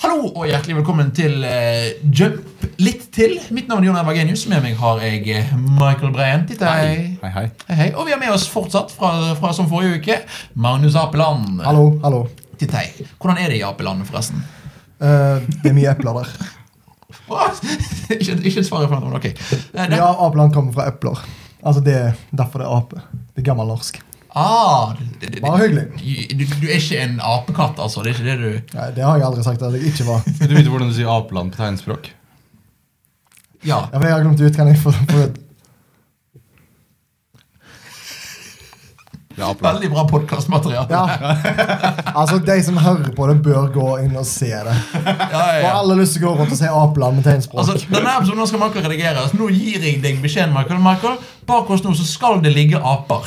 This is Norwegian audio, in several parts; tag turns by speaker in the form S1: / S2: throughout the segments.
S1: Hallo og hjertelig velkommen til eh, Jump litt til. Mitt navn er Jon Edvard Genius. Med meg har jeg eh, Michael Breien. Titt, Hei.
S2: Hei, hei.
S1: Hei, hei. Og vi har med oss fortsatt fra, fra som forrige uke Magnus Apeland.
S3: Hallo, hallo.
S1: Titt, hei. Hvordan er det i Apeland, forresten?
S3: Eh, det er mye epler der.
S1: Hva? ikke ikke svaret fra noen. Ok. Eh, det-
S3: Ja, Apeland kommer fra epler. Altså, det er derfor det er ape. Det er gammelnorsk.
S1: Ah, det- det- det-
S3: Bare hyggelig.
S1: Du, du er ikke en apekatt, altså? Det er ikke det du
S3: Nei, det har jeg aldri sagt at jeg ikke var.
S2: Vil du vite hvordan du sier apeland på tegnspråk?
S1: Ja.
S3: Ja, for jeg har glemt ut, kan jeg få, få et
S2: Det er apeland.
S1: Veldig bra podkastmateriale.
S3: Ja. Altså, de som hører på det, bør gå inn og se det.
S1: Ja, ja,
S3: Og
S1: ja.
S3: alle har lyst til å gå rundt og si Apeland med tegnspråk.
S1: Altså, denne episoden skal Michael redigere. Så nå gir jeg deg beskjeden, Michael. Michael, Bak oss nå så skal det ligge aper.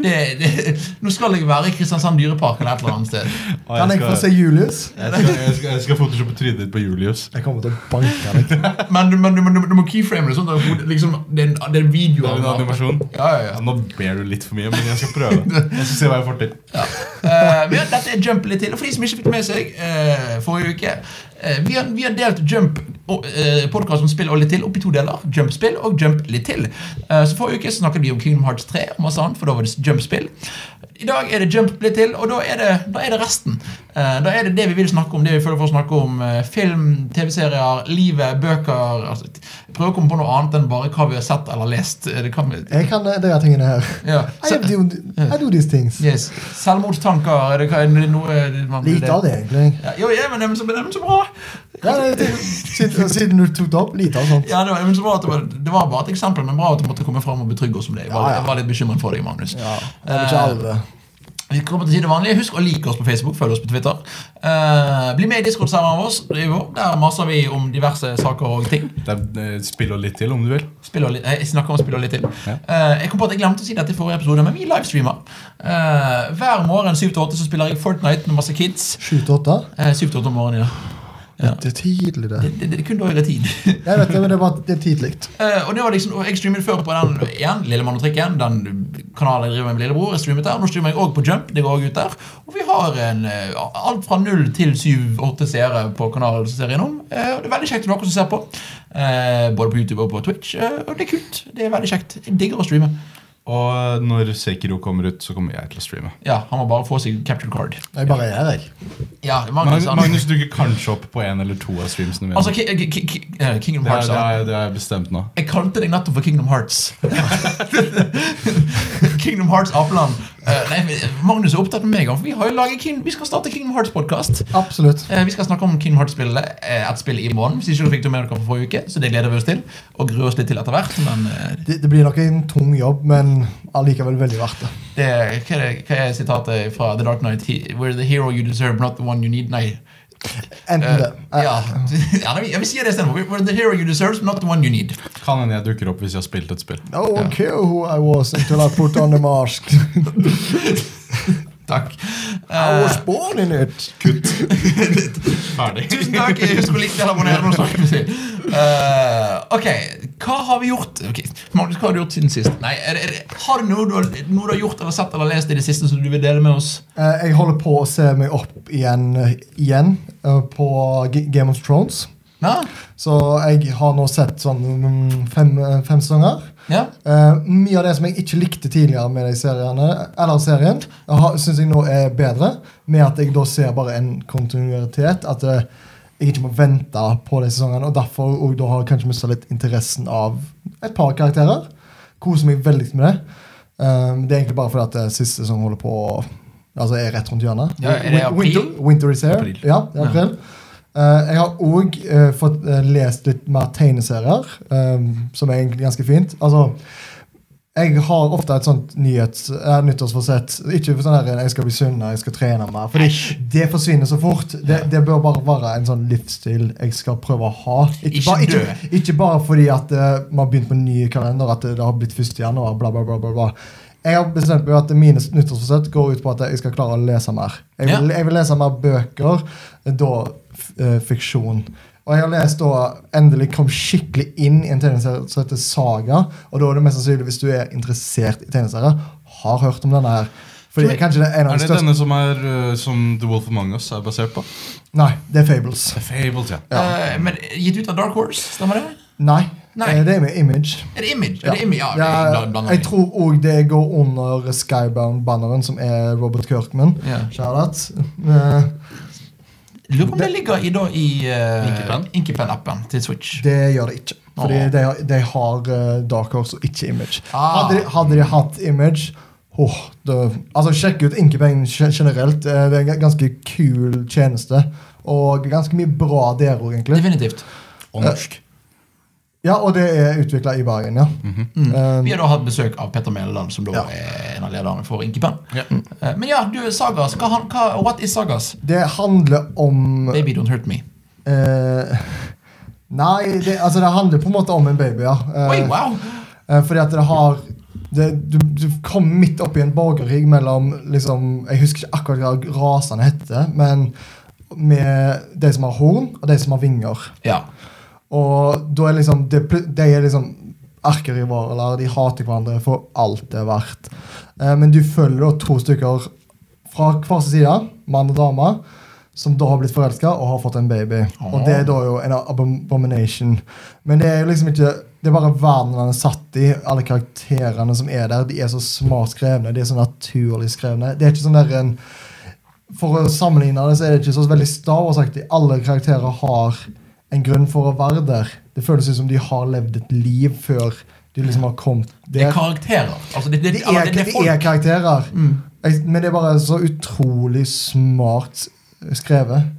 S1: Det, det, nå skal jeg være i Kristiansand dyrepark eller et eller annet sted.
S2: Å,
S3: Kan jeg få se
S2: skal,
S3: Julius?
S2: jeg skal, jeg skal, jeg skal photoshoppe trynet ditt på Julius.
S3: Jeg kommer til å banke deg.
S1: Men, du- men, du- men du, du må keyframe det sånn at hodet- liksom, det er en, det er en video.
S2: Det er
S1: av
S2: en
S1: en ape.
S2: animasjon.
S1: Ja, ja,
S2: Ja,
S1: ja.
S2: nå ber du litt for mye, men jeg skal prøve. Jeg skal se hva jeg får til.
S1: Eh, men ja, dette er Jump litt til. Og for de som ikke fikk med seg eh, forrige uke eh, vi, har, vi har delt Jump og, eh, podkast om spill og litt til opp i to deler. Jump-spill og Jump litt til. Eh, så forrige uke snakket vi om Kingdom Hearts 3, og masse annet, for da var det Jump-spill. I dag er det Jump litt til, og da er det, da er det resten. Eh, da er det det vi vil snakke om, det vi føler for å snakke om. eh, film, TV-serier, livet, bøker. Altså, prøve å komme på noe annet enn bare hva vi har sett eller lest. Eh, Det kan,
S3: Jeg kan eh, de her tingene her.
S1: ja.
S3: I, have do, I do these things.
S1: Yes. Selvmordstanker, er det, hva- er det noe man blir
S3: Lite av det, egentlig.
S1: Ja, jo, ja, men det er så, det er så bra!
S3: Ja, det, det, siden, siden du tok det opp, lite av sånt.
S1: Ja, det, var, men så bra at det, var, det var bare et eksempel, men bra at du måtte komme fram og betrygge oss om det. Jeg var,
S3: Ja, ja.
S1: Jeg var litt bekymret for deg, Magnus.
S3: Ja, det er
S1: Eh,
S3: ikke alle.
S1: Vi kommer til å si det vanlige. Husk å like oss på Facebook, følg oss på Twitter. Eh, bli med i Discord-serveren vår. det er jo- Der maser vi om diverse saker og ting.
S2: Det er, eh, spill og litt til, om du vil.
S1: Spill og litt, eh, jeg snakker om spill og litt til.
S2: Ja.
S1: Eh, jeg kom på at jeg glemte å si dette i forrige episode, men vi livestreamer. Eh, hver morgen 7-8 så spiller jeg Fortnite med masse kids.
S3: Sju til åtte?
S1: Eh, 7-8 om morgenen, ja. Ja.
S3: Det er tidlig, det.
S1: Det, det, det er kun da jeg har tid.
S3: Jeg vet det, men det er bare det er tidlig.
S1: Eh, og det var liksom, og jeg streamet før på den igjen, Lillemann og trikken, den kanalen jeg driver med med lillebror. jeg streamet der, Nå streamer jeg også på Jump. det går også ut der, Og vi har en, eh, alt fra null til syv-åtte seere på kanalen. som ser innom. Eh, og det er veldig kjekt for dere som ser på, eh, både på YouTube og på Twitch. eh, og det er kult. Det er veldig kjekt. Jeg digger å streame.
S2: Og eh, når Sekiro kommer ut, så kommer jeg til å streame.
S1: Ja, Han må bare få seg capture card.
S3: Jeg bare er her, jeg.
S1: Ja, Magnus,
S2: Magnus,
S1: han-
S2: Magnus dukker kanskje opp på en eller to av streamsene mine.
S1: Altså, Ki- Ki- Ki- Ki- eh, Kingdom
S2: det, er,
S1: Hearts.
S2: det,
S1: ja.
S2: er, det er bestemt nå.
S1: Jeg kalte deg nettopp for Kingdom Hearts. Kingdom Hearts Apeland. Eh, nei, men Magnus er opptatt med meg. for Vi, har jo laget King, vi skal starte Kingdom Hearts-podkast.
S3: Absolutt.
S1: vi skal snakke om Kingdom Hearts-spillet eh, et spill i morgen. Hvis ikke du fikk det med dere på forrige uke, så det gleder vi oss til. Og gruer oss litt til etter hvert. Men eh,
S3: Det, det blir nok en tung jobb, men allikevel veldig verdt det.
S1: det, hva, er det, hva er sitatet fra The Dark Knight? He- We're the hero you deserve, not the one you need. Nei.
S3: Enten det.
S1: Eh, ja. ja, nei, vi- vi sier det istedenfor. We're the hero you deserve, not the one you need.
S2: Kan hende jeg dukker opp hvis jeg har spilt et spill.
S3: No one care Oh, who I was until I put on the mask.
S1: Eh. Takk.
S3: I
S1: Eh,
S3: was born in it.
S2: Ferdig.
S1: Tusen takk. Husk å like det, abonnere og snakke med seg. Eh, ok, hva har vi gjort? Ok, Magnus, hva har du gjort siden sist? Nei, er, det- er, det- Har du noe du har, noe du har gjort eller sett eller lest i det siste som du vil dele med oss?
S3: Eh, Jeg holder på å se meg opp igjen, eh, igjen eh, på G Game of Thrones.
S1: Ja?
S3: Så jeg har nå sett sånn mm, fem, eh, fem sesonger.
S1: ja?
S3: Eh, mye av det som jeg ikke likte tidligere med de seriene, eller serien, syns jeg nå er bedre. Med at jeg da ser bare en kontinuitet. At eh, jeg ikke må vente på de sesongene. Og derfor og da har jeg kanskje mista litt interessen av et par karakterer. Koser meg veldig med det. Um, det er egentlig bare fordi at eh, siste sesong holder på å- Altså er rett rundt hjørnet.
S1: Ja, er det
S3: Win-
S1: april?
S3: Winter, winter is here.
S2: April.
S3: Ja, det er april. Eh, jeg har òg fått eh, lest litt mer tegneserier, eh, som er egentlig ganske fint. Altså, jeg har ofte et sånt nyhets, eh, nyttårsforsett. Ikke for sånn her, jeg skal bli sunnere, jeg skal trene mer. Fordi det forsvinner så fort. Det, det bør bare være en sånn livsstil jeg skal prøve å ha.
S1: Ikke
S3: bare,
S1: dø.
S3: ikke, ikke bare fordi at eh, man har begynt på ny kalender, at eh, det, det har blitt 1. januar, bla, bla, bla. bla, bla. Jeg har bestemt meg at mine nyttårsforsett går ut på at jeg skal klare å lese mer. Jeg vil,
S1: Ja.
S3: jeg vil lese mer bøker, da f- eh, fiksjon. Og jeg har lest da endelig kom skikkelig inn i en tegneserie som heter Saga. Og da er det mest sannsynlig, hvis du er interessert i tegneserier, har hørt om denne her. Fordi kanskje det er en av
S2: Er
S3: de
S2: det
S3: største
S2: denne som, er, øh, som The Wolf Among Us er basert på?
S3: Nei, det er Fables.
S2: The Fables, ja.
S1: Eh, men gitt ut av Dark Horse, stemmer det?
S3: Nei,
S1: Nei.
S3: eh, det er med Image.
S1: Er det Image? Er det Image? Ja,
S3: Ja,
S1: bla- blander
S3: jeg
S1: vi.
S3: tror òg det går under Skybound-banneren, som er Robert Kirkman.
S1: Ja.
S3: Shout-out. Eh,
S1: Lurer på om det ligger i, da, i
S4: Inkepen?
S1: uh, Inkepen-appen til Switch.
S3: Det gjør det ikke. Fordi
S1: Åh.
S3: de, har- de har eh, Dark Horse og ikke Image.
S1: Ah.
S3: Hadde, de, hadde de hatt Image Åh, det, altså Sjekk ut Inkebang gen- generelt. Eh, Det er en g- ganske kul tjeneste. Og ganske mye bra der òg, egentlig.
S1: Definitivt.
S4: Og norsk.
S3: Ja, Og det er utvikla i Bergen, ja.
S1: Mhm.
S3: Eh,
S1: Mm. Vi har da hatt besøk av Petter Mæleland, som da
S3: Ja.
S1: er en av lederne for Inkepen.
S4: Ja.
S1: Eh, men ja, du, Sagas. Hva, han- hva, what is Sagas?
S3: det handler om
S1: Baby Don't Hurt Me.
S3: eh, Nei, det, altså det handler på en måte om en baby, ja. Eh,
S1: Oi, wow!
S3: Eh, Fordi at det har det, du, du kom midt opp i en borgerkrig mellom liksom, Jeg husker ikke akkurat hva rasene heter, men med de som har horn, og de som har vinger.
S1: Ja.
S3: Og da er liksom det, pl- De er liksom arkerivaler, de hater hverandre for alt det er verdt. Eh, men du følger da to stykker fra hver sin side, mann og dame, som da har blitt forelska og har fått en baby. Og det er da jo en abom- abomination. Men det er jo liksom ikke det er bare verden den er satt i. Alle karakterene som er der, de er så smart skrevne. De er så naturlig skrevne. Det er ikke sånn der en for å sammenligne det, så er det ikke så veldig Star Wars-aktig. Alle karakterer har en grunn for å være der. Det føles ut som de har levd et liv før de liksom har kommet
S1: Det er
S3: der.
S1: karakterer. Altså, det, det,
S3: Det
S1: eller
S3: er,
S1: det, det er
S3: det er
S1: folk. Mm.
S3: karakterer. Jeg- Men det er bare så utrolig smart skrevet.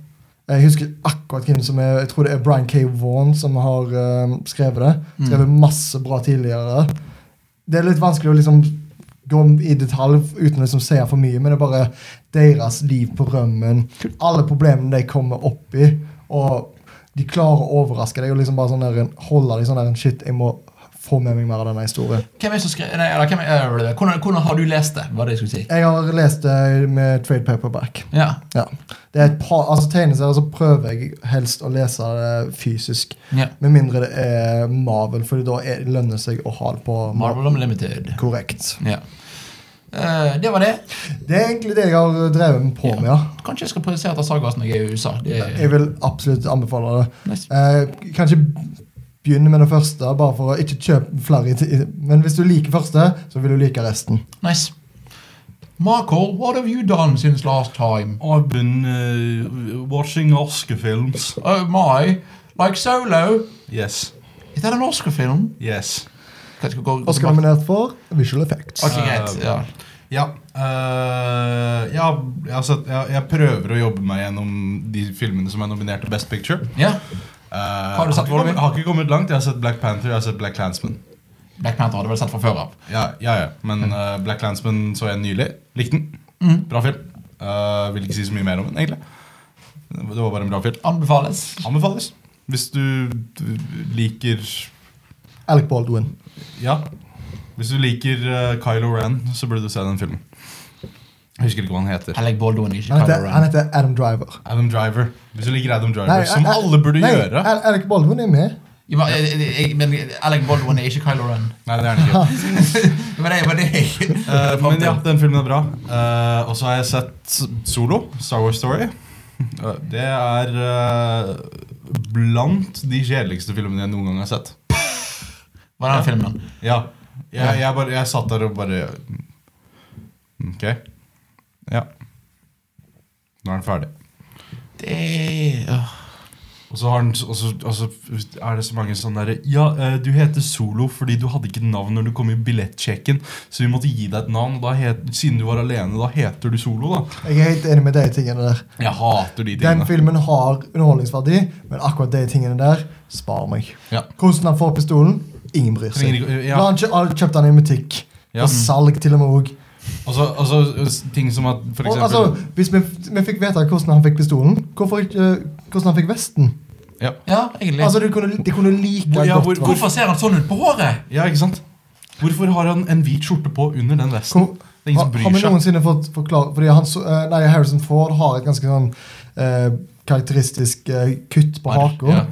S3: Jeg husker akkurat hvem som er Jeg tror det er Brian K. Vaughan som har eh, skrevet det.
S1: Mm.
S3: Skrevet masse bra tidligere. Det er litt vanskelig å liksom gå i detalj uten å liksom si for mye, men det er bare deres liv på rømmen. Alle problemene de kommer opp i, og de klarer å overraske deg og liksom bare sånn der, holde deg sånn der Shit, jeg må få med meg mer av denne historien.
S1: Hvem er det som skrev Nei, eller hvem er, øh, hvordan, hvordan har du lest det? Var det jeg skulle si.
S3: Jeg har lest det med trade paperback.
S1: Ja.
S3: Ja. Det er et par, altså Tegneserier så prøver jeg helst å lese det fysisk.
S1: ja.
S3: Med mindre det er Marvel, for da er, lønner det seg å ha det på
S1: Marvel Unlimited.
S3: Korrekt.
S1: Ja. Eh, det var det.
S3: Det er egentlig det jeg har drevet med på med. ja.
S1: Kanskje jeg skal produsere etter Sagas når jeg er i USA. Det er,
S3: Jeg vil absolutt anbefale det.
S1: nice.
S3: Eh, kanskje begynne med det første, bare for å ikke kjøpe flere. i ti- Men hvis du liker første, så vil du like resten.
S1: nice. Marco, what have you done since last time?
S2: I've been uh, watching norske films.
S1: Oh my, like Solo.
S2: Yes.
S1: Er det en norsk film?
S2: Yes.
S1: Hva skal gå-
S3: Oscar-nominert for visual effects.
S1: Ok, greit. Ja.
S2: Ja. øh, ja altså, jeg, jeg prøver å jobbe meg gjennom de filmene som er nominert til Best Picture.
S1: ja.
S2: Eh,
S1: Har du sett
S2: ikke kommet,
S1: Wolverine?
S2: har ikke kommet langt. Jeg har sett Black Panther jeg har sett Black Clansman.
S1: Black Panther hadde vel sett fra før av.
S2: Ja, ja, ja. Men
S1: Mm.
S2: eh, Black Clansman så jeg nylig. Likte den. Bra film. Eh, vil ikke si så mye mer om den, egentlig. Det var bare en bra film.
S1: Anbefales.
S2: Anbefales. Hvis du du liker
S3: Alec Baldwin.
S2: Ja. Hvis du liker eh, Kylo Ren, så burde du se den filmen. Jeg husker ikke hva han heter.
S1: Alec Baldwin, ikke
S3: Han
S1: Kylo
S3: heter, han
S1: Ren.
S3: heter Adam Driver.
S2: Adam Driver. Hvis du liker Adam Driver,
S3: Nei,
S2: som
S3: Al- Al-
S2: alle burde
S3: nei,
S2: gjøre
S3: Al- Alec Baldwin er med.
S1: Ja, men, eh, eh, Men Alec Baldwin er ikke Kylo Ren.
S2: Nei, det er han ikke.
S1: Men det var det jeg
S2: Eh, men ja, den filmen er bra. Eh, og så har jeg sett Solo, Star Wars Story. Eh, det er eh, blant de kjedeligste filmene jeg noen gang har sett.
S1: Var den filmen?
S2: Ja. Jeg, jeg, bare, jeg satt der og bare Ok. Ja. Nå er den ferdig.
S1: Det åh.
S2: Og så, har den, og, så, og så er det så mange sånne derre Ja, eh, du heter Solo fordi du hadde ikke navn når du kom i billettsjekken, så vi måtte gi deg et navn. Og da het, siden du var alene, da heter du Solo, da.
S3: Jeg er helt enig med de tingene der.
S2: Jeg hater de
S3: Den
S2: tingene.
S3: filmen har underholdningsverdi, men akkurat de tingene der spar meg.
S2: Ja.
S3: Hvordan han får pistolen, ingen bryr seg.
S2: Trenger ikke- ja.
S3: La han kjø- han kjøpte han i butikk.
S2: Ja.
S3: På salg, til og med òg.
S2: Og så og så s- ting som at for eksempel
S3: Altså, hvis vi, vi fikk vite hvordan han fikk pistolen, hvorfor ikke eh, hvordan han fikk vesten?
S2: ja.
S1: Ja, egentlig.
S3: Altså, du kunne, De kunne like
S2: Hvor- ja,
S3: godt
S2: hvor-
S3: hva-
S1: Hvorfor ser han sånn ut på håret?
S2: ja, ikke sant? Hvorfor har han en hvit skjorte på under den vesten?
S3: Hvor-
S2: Det er ingen
S3: har,
S2: som
S3: har
S2: bryr
S3: vi
S2: seg.
S3: noensinne fått forklare Fordi han, så- eh, nei, Harrison Ford har et ganske sånn eh, karakteristisk eh, kutt på
S1: Arr,
S3: haka.
S2: ja.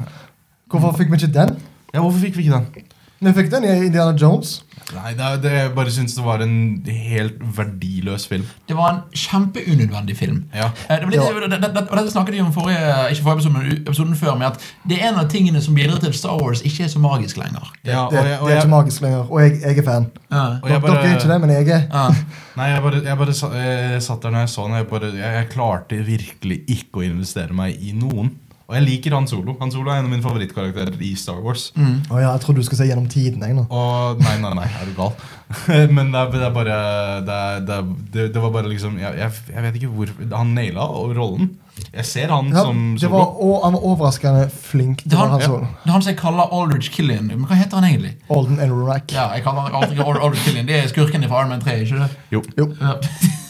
S3: Hvorfor fikk vi ikke den?
S2: Ja, Hvorfor fikk vi ikke den?
S3: Vi fikk den i Indiana Jones.
S2: Nei, det, er- det, jeg bare syns det var en helt verdiløs film.
S1: Det var en kjempeunødvendig film.
S2: Ja.
S1: Eh, Det var litt, det, det, det, og dette snakket vi om forrige, ikke forrige episode, men episoden før, med at det er en av tingene som bidrar til at Star Wars ikke er så magisk lenger.
S2: ja og
S3: Det,
S2: jeg, og
S3: det er ikke
S2: jeg,
S3: magisk lenger. Og jeg, jeg er fan.
S1: Ja.
S2: og jeg
S3: Dere er ikke det,
S2: bare,
S3: men jeg er.
S1: Ja.
S2: nei, jeg bare, jeg bare sa- jeg satt der når jeg så den, og jeg, bare, jeg, jeg klarte virkelig ikke å investere meg i noen. Og jeg liker Han Solo. Han Solo er en av mine favorittkarakterer i Star Wars.
S3: Å ja, jeg trodde du skulle si gjennom tiden. jeg nå.
S2: Og nei, nei, nei, er du gal? Men det er, det er bare det, er, det, er, det, det var bare liksom jeg, jeg, jeg vet ikke hvor Han naila rollen. Jeg ser han
S3: Ja,
S2: som
S3: det
S2: solo.
S3: var, og han var overraskende flink.
S1: Det
S3: til
S1: er
S3: han,
S1: han,
S3: han så.
S1: det er han som jeg kaller Aldridge Killian. Men hva heter han egentlig?
S3: Alden Elrack.
S1: Ja, jeg kaller han alltid Ald- Aldridge Killian. Det er skurken fra Iron Man 3, ikke det?
S2: Jo.
S3: Jo.
S1: Ja.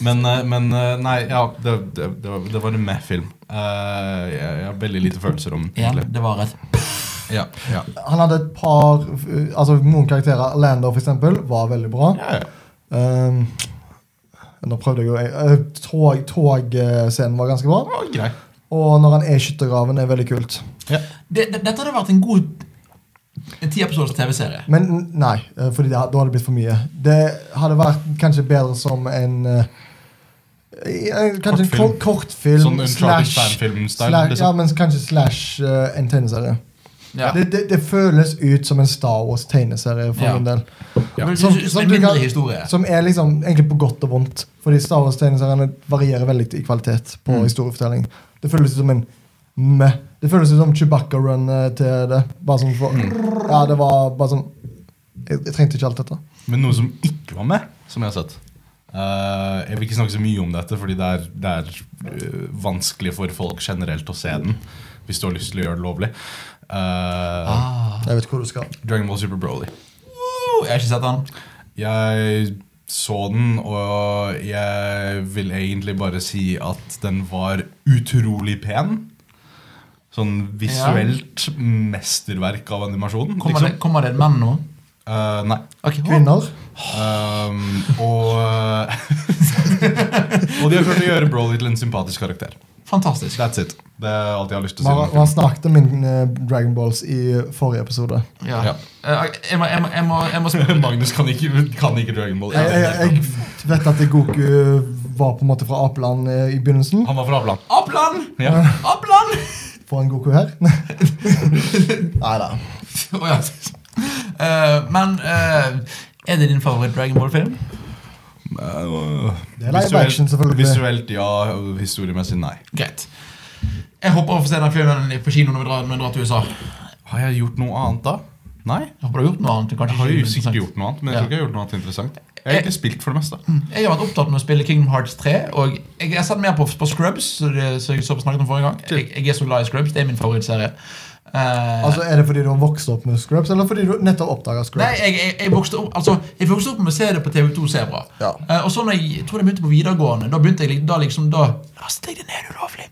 S2: Men, eh, men eh, nei, ja, det, det, det, var, det var en meh-film. jeg, jeg har veldig lite følelser om den.
S1: Ja,
S2: egentlig.
S1: det var rett.
S2: Ja, ja.
S3: Han hadde et par uh, Altså Noen karakterer, Lander for eksempel, var veldig bra.
S2: Ja, ja.
S3: Um, nå prøvde jeg å jeg- tog- Togscenen var ganske
S2: Det
S3: bra.
S2: var grei.
S3: Og når han er i skyttergraven, er veldig kult.
S2: Ja.
S1: Det, det, dette hadde vært en god ti episoders TV-serie.
S3: Men n- nei, eh, fordi det, da hadde det blitt for mye. Det hadde vært kanskje bedre som en eh, i- eh, Kanskje en
S2: Kortfilm.
S3: kort, kortfilm
S2: Sånn Uncharted
S3: slash,
S2: fanfilm-style,
S3: slash-
S2: liksom.
S3: Ja, men kanskje slash eh, en tegneserie.
S1: Ja.
S3: Det, det, det føles ut som en Star Wars-tegneserie for
S1: Ja.
S3: min del.
S2: Ja.
S1: Men
S3: Som-
S1: det er
S3: som
S1: en
S3: du
S1: Sånn- mindre
S3: kan-
S1: historie.
S3: Som er liksom egentlig på godt og vondt. Fordi Star Wars-tegneseriene varierer veldig i kvalitet på historiefortelling. Det føles ut som en meh. Det føles ut som Chewbacca-run til det. Bare sånn for,
S1: Mm.
S3: Ja, det var bare sånn jeg, jeg trengte ikke alt dette.
S2: Men noe som ikke var med, som jeg har sett Eh, Jeg vil ikke snakke så mye om dette, fordi det er, det er eh, vanskelig for folk generelt å se den. Hvis du har lyst til å gjøre det lovlig. Eh,
S1: Ah.
S3: Jeg vet ikke hvor du skal.
S2: Dragon Ball Super Broly.
S1: Woo, jeg har ikke sett han.
S2: Jeg så den, og jeg vil egentlig bare si at den var utrolig pen. Sånn visuelt mesterverk av animasjon.
S1: Kommer,
S2: Liksom.
S1: det, kommer det en mann nå?
S2: Eh, nei.
S1: Ok, hva-
S3: Kvinner.
S2: Um, og eh, Og de har klart å gjøre Broly til en sympatisk karakter.
S1: Fantastisk.
S2: That's it. Det er alt jeg har lyst til å si. om
S3: Man,
S2: filmen.
S3: man snakket om min eh, Dragon Balls i forrige episode.
S1: Ja.
S2: Ja.
S1: Eh, Jeg, må, jeg, må, jeg, må, jeg må spørre
S2: Magnus kan ikke, kan ikke Dragon Ball.
S3: Jeg, jeg, jeg vet at Goku eh, var på en måte fra apeland eh, i begynnelsen.
S2: Han var fra Avland.
S1: Apland!
S2: Ja.
S1: Apland!
S3: Får han Goku her? Nei da.
S1: Å, ja. Eh, men eh, er det din favoritt Dragon Ball-film?
S3: Det er live action, selvfølgelig.
S2: Visuelt ja, og historiemessig nei.
S1: Greit. Jeg håper å få se den filmen på kino når vi drar, når vi drar til USA.
S2: Har jeg gjort noe annet da? Nei.
S1: Jeg håper du har gjort noe annet.
S2: Jeg
S1: Kanskje
S2: har
S1: ikke sånn-
S2: jo
S1: noe
S2: sikkert
S1: interessant.
S2: gjort noe annet, men
S1: Ja. Mm.
S2: jeg tror ikke jeg har gjort noe annet interessant. Jeg har egentlig spilt for det meste.
S1: Jeg har vært opptatt med å spille Kingdom Hearts 3. Og jeg har sett mer på, på Scrubs, så det, så jeg så snakket om forrige gang. Jeg, jeg er så glad i Scrubs. Det er min favorittserie. Eh,
S3: Altså, Er det fordi du har vokst opp med Scrubs, eller fordi du nettopp oppdaga
S1: Nei,
S3: Scrubs?
S1: jeg, jeg, jeg vokste opp Altså, jeg vokste opp med å se det på TV2 Sebra.
S3: Ja.
S1: Eh, og så når jeg, jeg tror jeg begynte på videregående, da begynte jeg lik- da liksom da Lastet jeg det ned ulovlig?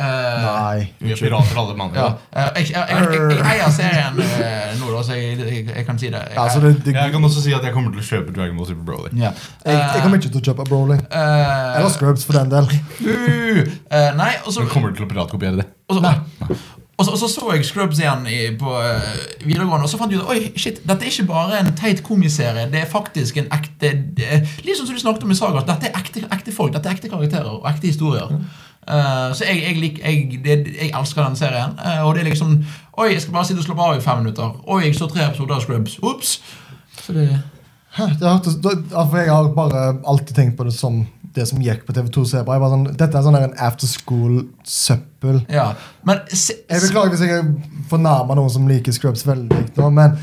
S1: Eh,
S2: Vi er pirater alle mann.
S1: ja. Eh, jeg, jeg, jeg, jeg, jeg eier serien eh, nå, da, så jeg, jeg, jeg kan si det. Jeg,
S3: Ja, altså, det, det,
S2: Jeg
S3: jeg,
S2: kan også si at jeg kommer til å kjøpe Dragon Ball Super Broly.
S1: ja.
S3: jeg kommer ikke til å kjøpe Broly.
S1: Eh,
S3: Eller Scrubs, for den del.
S1: uh, eh, nei, og så
S2: Men kommer du til å piratkopiere det?
S1: Og så, og så, og så så jeg Scrubs igjen i, på eh, videregående, og så fant jeg ut at oi, shit, dette er ikke bare en teit komiserie. Det er faktisk en ekte det, er- Litt sånn som du snakket om i Saga, at dette er ekte, ekte folk, dette er ekte karakterer og ekte historier. Eh, så jeg, jeg, lik, jeg, det, jeg elsker den serien. eh, og det er liksom Oi, jeg skal bare sitte og slappe av i fem minutter. Oi, jeg så tre episoder av Scrubs. Ops! Så det
S3: Hæ, det hørtes, da, ja, for jeg har bare alltid tenkt på det som det som gikk på TV2 Sebra. Jeg bare sånn, dette er sånn der en after school-søppel.
S1: Ja. Men se,
S3: Jeg beklager hvis jeg fornærmer noen som liker Scrubs veldig, nå, men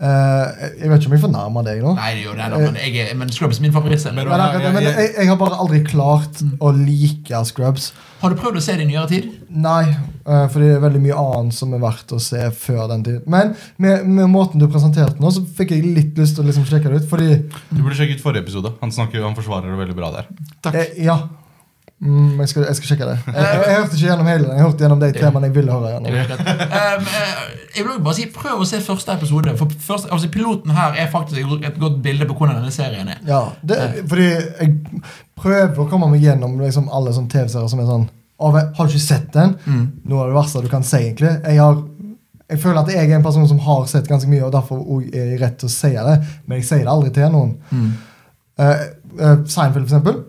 S3: eh, jeg vet ikke om jeg fornærmer deg nå.
S1: Nei, det gjør det, da, men, jeg, er- men Scrubs er min favorittserie.
S3: Men, jeg, men jeg, jeg har bare aldri klart å like Scrubs.
S1: Har du prøvd å se det i nyere tid?
S3: Nei, eh, fordi det er veldig mye annet som er verdt å se før den tid. Men med, med måten du presenterte den nå, så fikk jeg litt lyst til å liksom sjekke det ut. Fordi
S2: Du burde sjekke ut forrige episode. Han, snakker, han forsvarer det veldig bra der.
S3: eh, Ja. Mm, jeg, skal, jeg skal sjekke det. Jeg, jeg, jeg hørte ikke gjennom hele den. Jeg hørte gjennom de temaene jeg ville høre.
S1: Det
S3: gjennom.
S1: er helt rett. Um, eh, jeg vil også bare si, Prøv å se første episode. For første, altså Piloten her er faktisk et godt bilde på hvordan denne serien er.
S3: Ja, det, fordi jeg prøver å komme meg gjennom liksom, alle sånne TV-serier som er sånn «Å, vet- Har du ikke sett den? Noe av det verste du kan si, egentlig. Jeg har Jeg føler at jeg er en person som har sett ganske mye, og derfor også er jeg rett til å si det. Men jeg sier det aldri til noen. Eh, eh, Seinfeld, for eksempel.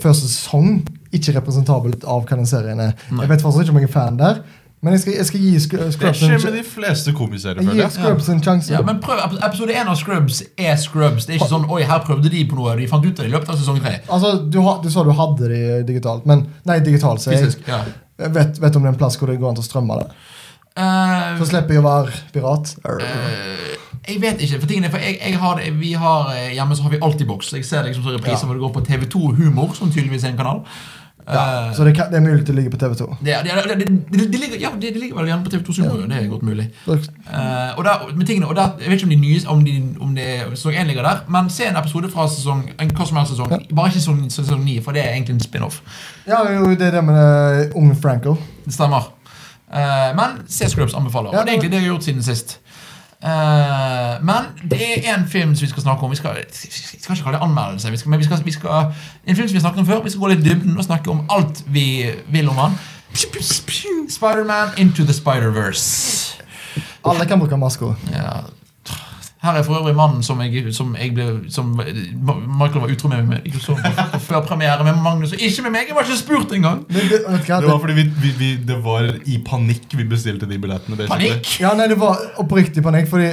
S3: Første sesong ikke representabelt av hva den serien er. Jeg vet fortsatt ikke om jeg er fan der, men jeg skal, jeg skal gi Sc-
S2: Det
S3: Scrubs en,
S2: skjer med
S3: sj-
S2: de fleste komiserier,
S3: jeg
S2: føler
S3: gir
S2: jeg.
S3: Scrubs en sjanse.
S1: Ja, men prøv, ep- Episode 1 av Scrubs er Scrubs. Det er ikke sånn oi, her prøvde de på noe, og de fant ut av det i løpet av sesong 3.
S3: Altså, du, ha- du sa du hadde det digitalt, men Nei, digitalt, så jeg
S1: Fysisk. Ja.
S3: jeg vet, vet om det er en plass hvor det går an til å strømme det.
S1: Eh,
S3: Så slipper jeg å være pirat.
S1: Eh, jeg vet ikke. for tingene, for jeg, jeg har, det- vi har eh, Hjemme så har vi Altibox. Jeg ser det liksom så repriser
S3: Ja.
S1: hvor det går på TV2 Humor, som tydeligvis er en kanal. Eh,
S3: Så det, kan, det er mulig til å ligge på TV2.
S1: det, det, det, det, det ligger, ja, det, det ligger vel gjerne på TV2 Sumo. Det er godt mulig. Eh, og der, med tingene, og der, jeg vet ikke om de nye om, de, om det sesong 1 ligger der, men se en episode fra sesong en, hva som helst sesong. Bare ikke sesong, sesong 9, for det er egentlig en spin-off.
S3: Ja, jo, det er det med eh, unge Franco.
S1: Det stemmer. Eh, men se Scrubs anbefaler.
S3: Ja,
S1: og det er egentlig det jeg har gjort siden sist. Eh, men det er en film som vi skal snakke om. Vi skal, vi skal ikke kalle det anmeldelse. Vi skal, men vi skal, vi skal, en film som vi har snakket om før. Vi skal gå litt i dybden og snakke om alt vi vil om han. Spider-Man Into the Spider-Verse.
S3: Alle kan bruke maska.
S1: Ja. Her er for øvrig mannen som jeg, som jeg ble Som Michael var utro med meg ikke så, før premiere med Magnus. Og ikke med meg! Jeg var ikke spurt engang!
S3: Men det, vet du hva,
S2: Det var
S3: det,
S2: fordi vi, vi, vi, det var i panikk vi bestilte de billettene. basically.
S1: Panikk!
S3: ja, nei, det var oppriktig panikk, fordi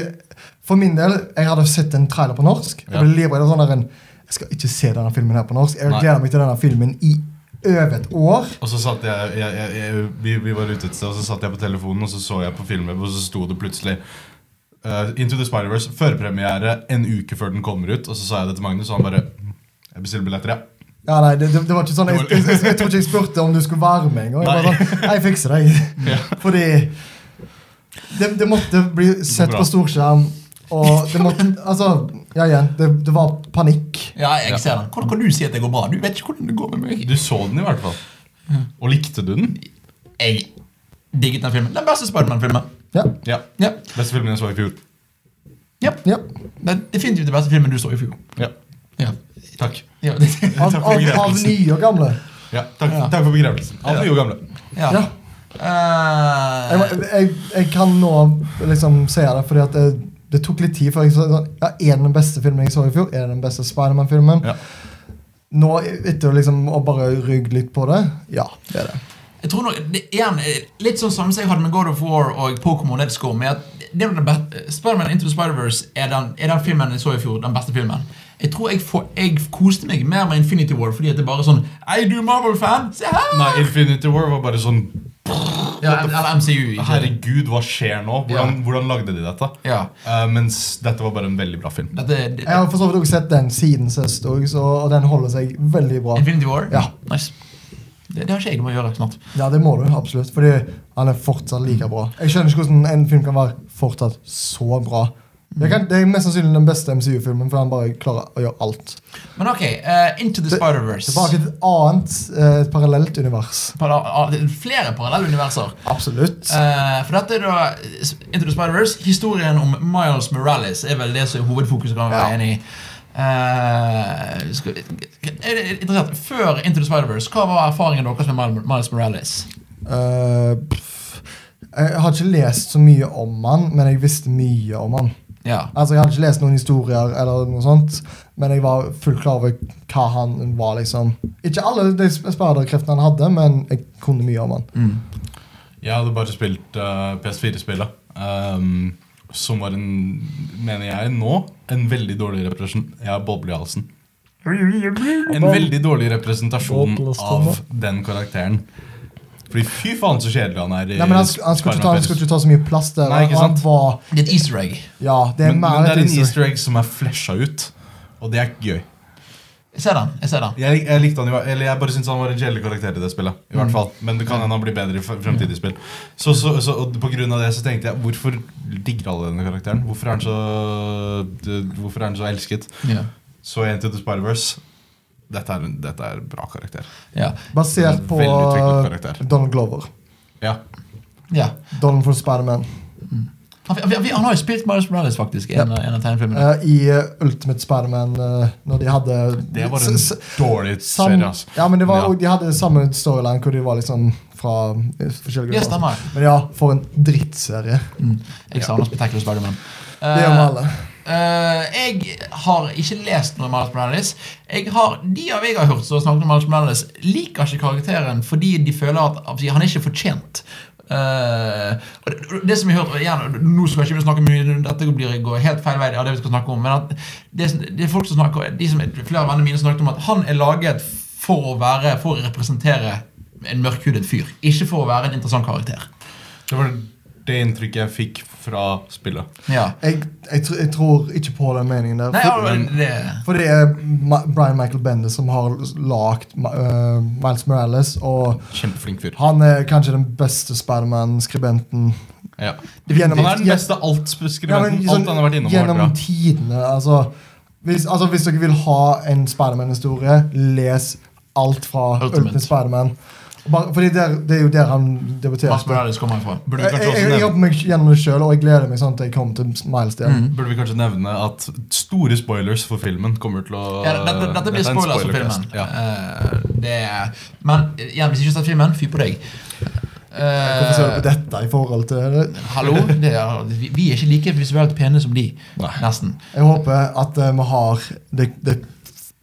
S3: for min del, jeg hadde sett en trailer på norsk. Jeg ble livredd av sånn der en Jeg skal ikke se denne filmen her på norsk. Jeg
S2: Nei.
S3: gleder meg til denne filmen i over et år.
S2: Og så satt jeg, jeg, jeg, jeg vi, vi var ute et sted, og så satt jeg på telefonen, og så så jeg på filmen, og så sto det plutselig eh, Into the Spider-Verse, førpremiere en uke før den kommer ut. Og så sa jeg det til Magnus, og han bare Jeg bestiller billetter, ja.
S3: Ja, nei, det, det, det var ikke sånn Jeg, jeg, jeg, jeg tror ikke jeg spurte om du skulle være med engang. Jeg bare sånn, jeg fikser deg. Fordi det, det måtte bli sett
S2: bra.
S3: på storskjerm, og det måtte Altså, ja, igjen. Det, det var panikk.
S1: Ja, jeg ser den. Hvordan kan du si at det går bra? Du vet ikke hvordan det går med meg.
S2: Du så den i hvert fall. Og likte du den?
S1: Jeg digget den filmen. Den beste Spiderman-filmen.
S3: Ja.
S2: Ja.
S1: Ja.
S2: Beste filmen jeg så i fjor.
S1: ja.
S3: ja.
S1: Det er definitivt den beste filmen du så i fjor.
S2: Ja.
S1: Ja.
S2: Takk.
S1: Ja, det,
S3: Av,
S2: Takk for
S3: av, av
S2: begravelsen.
S3: nye og gamle.
S2: Ja, takk,
S1: Ja.
S2: takk for begravelsen. Alle nye og gamle.
S1: ja.
S3: Ja.
S1: Eh,
S3: Jeg, jeg, jeg kan nå liksom si det, fordi at det, det tok litt tid før jeg så sånn, ja, Er det den beste filmen jeg så i fjor? Er det den beste Spiderman-filmen?
S2: Ja.
S3: Nå, etter å liksom, å bare rygge litt på det Ja, det er det.
S1: jeg tror nok, det, igjen, eh, Litt sånn samme som jeg hadde med God of War og Pokémon Let's Go. Med at det er den beste, Spiderman Into the Spider-Verse er, den- er den filmen jeg så i fjor. Den beste filmen. Jeg tror jeg, får, jeg koste meg mer med Infinity War fordi at det er bare sånn Ei, du Marvel-fan! Se her!
S2: Nei, Infinity War var bare sånn
S1: Ja, eller MCU. Ikke?
S2: Herregud, hva skjer nå? Hvordan,
S1: Ja.
S2: hvordan lagde de dette?
S1: Ja.
S2: Eh, mens dette var bare en veldig bra film.
S1: Dette, det,
S3: Jeg har for så vidt også sett den siden sist, også, så, og den holder seg veldig bra.
S1: Infinity War?
S3: Ja.
S1: Nice. Det, det har ikke jeg med å gjøre snart.
S3: Ja, det må du absolutt, fordi han er fortsatt like bra. Jeg skjønner ikke hvordan en film kan være fortsatt så bra. Jeg kan, det er mest sannsynlig den beste MCU-filmen, for han bare klarer å gjøre alt.
S1: Men ok, eh, Into the Spider-Verse.
S3: Tilbake til et annet, eh, et parallelt univers.
S1: Para- ah, det er Flere parallelle universer.
S3: Absolutt.
S1: Eh, for dette er da eh, Into the Spider-Verse. Historien om Miles Morales er vel det som er hovedfokuset. kan man
S3: Ja.
S1: være enig i. Eh, skal, er det interessant, Før Into the Spider-Verse, hva var erfaringen deres med Mil- Miles Morales?
S3: Eh, pff. jeg har ikke lest så mye om han, men jeg visste mye om han.
S1: Ja,
S3: Altså, Jeg hadde ikke lest noen historier, eller noe sånt, men jeg var fullt klar over hva han var. liksom. Ikke alle de spaderkreftene han hadde, men jeg kunne mye om han.
S2: Mm. Jeg hadde bare spilt eh, PS4-spillet. ehm, som var en, mener jeg nå, en veldig dårlig representasjon Jeg har boble i halsen. En veldig dårlig representasjon av den karakteren. Fordi fy faen så kjedelig han er. i
S3: Nei, men Han, sk- han, skulle ikke ta, han skulle ikke ta så mye plass der.
S2: Nei, ikke
S3: og han
S2: sant?
S3: var,
S1: Det er et easter egg.
S3: ja, det er
S2: men,
S3: mer
S2: men det er
S3: et
S2: en
S3: easter-
S2: easter egg som er flesha ut. Og det er ikke gøy.
S1: Jeg ser den. jeg ser den
S2: Jeg, jeg likte han jo, eller jeg bare syntes han var en kjedelig karakter i det spillet. I
S3: Mm.
S2: hvert fall, Men det kan hende han blir bedre i f- fremtidige spill. Så, så, så og På grunn av det så tenkte jeg hvorfor digger alle denne karakteren? Hvorfor er han så, d- hvorfor er han så elsket?
S1: Ja.
S2: Så jeg endte til Spider-Verse. Dette er, en- dette er en bra karakter.
S1: Ja.
S3: basert på eh,
S2: Veldig utviklet karakter.
S3: Donald Glover.
S2: Ja.
S1: ja.
S3: Donald for Spiderman.
S1: Han, han, han har jo spilt Miles Morales, faktisk, i en, en av
S2: Mm.
S1: tegnefilmene.
S3: Uh, I eh, Ultimate Spiderman, uh, når de hadde
S2: Det var en
S3: s- s-
S2: dårlig
S3: sam,
S2: serie, altså.
S3: Ja, men det var,
S2: Ja.
S3: og De hadde samme storyline hvor de var liksom fra eh, forskjellige
S1: Ja, stemmer.
S3: Men ja, for en drittserie.
S1: Mm. Jeg savner Spectacular Spiderman.
S3: Det gjør vi
S2: Eh,
S3: alle.
S1: Eh, jeg har ikke lest noe Miles Morales. Jeg har, de av jeg har hørt som har snakket om Miles Morales, liker ikke karakteren fordi de føler at at han er ikke fortjent. Eh, og det, det som jeg hørte igjen, Nå skal ikke vi snakke mye Dette blir går helt feil vei av det vi skal snakke om. Men at det, som- det er folk som snakker de som, Flere av vennene mine snakket om at han er laget for å være For å representere en mørkhudet fyr. Ikke for å være en interessant karakter.
S2: Det var det inntrykket jeg fikk fra spillet.
S1: Ja.
S3: Jeg, jeg, tr- jeg tror ikke på den meningen der.
S1: Nei,
S3: For,
S1: ja, det
S3: for det er Ma Brian Michael Bender som har lagd eh, Miles Morales, og
S2: Kjempeflink fyr.
S3: han er kanskje den beste Spiderman-skribenten
S2: Ja.
S3: Gjennom-
S2: Han er den beste
S3: Ja, men
S2: altskribenten.
S3: sånn
S2: Alt han har vært innom, har vært bra.
S3: Gjennom tidene, altså hvis, altså hvis dere vil ha en Spiderman-historie, les alt fra
S1: Ultimate.
S3: Ultimate, Spiderman. Bare- Fordi der, det er jo der han debuterer.
S1: Miles Morales kommer herfra.
S2: Burde vi
S3: Jeg,
S2: kanskje
S3: jeg,
S2: også
S3: jeg
S2: nevne
S3: jobber meg gjennom det sjøl, og jeg gleder meg sånn til jeg kommer til Miles igjen.
S2: Burde vi kanskje nevne at store spoilers for filmen kommer til å
S1: Ja, dette, dette blir
S2: er en
S1: spoilers for
S2: spoilercast.
S1: filmen. Eh, det er, men igjen, hvis ikke du har sett filmen, fy på deg. Eh,
S3: Hvorfor ser du på dette i forhold til det?
S1: hallo? Det er, vi, vi er ikke like visuelt pene som de.
S2: Nei.
S1: Nesten.
S3: Jeg håper at eh, vi har det, det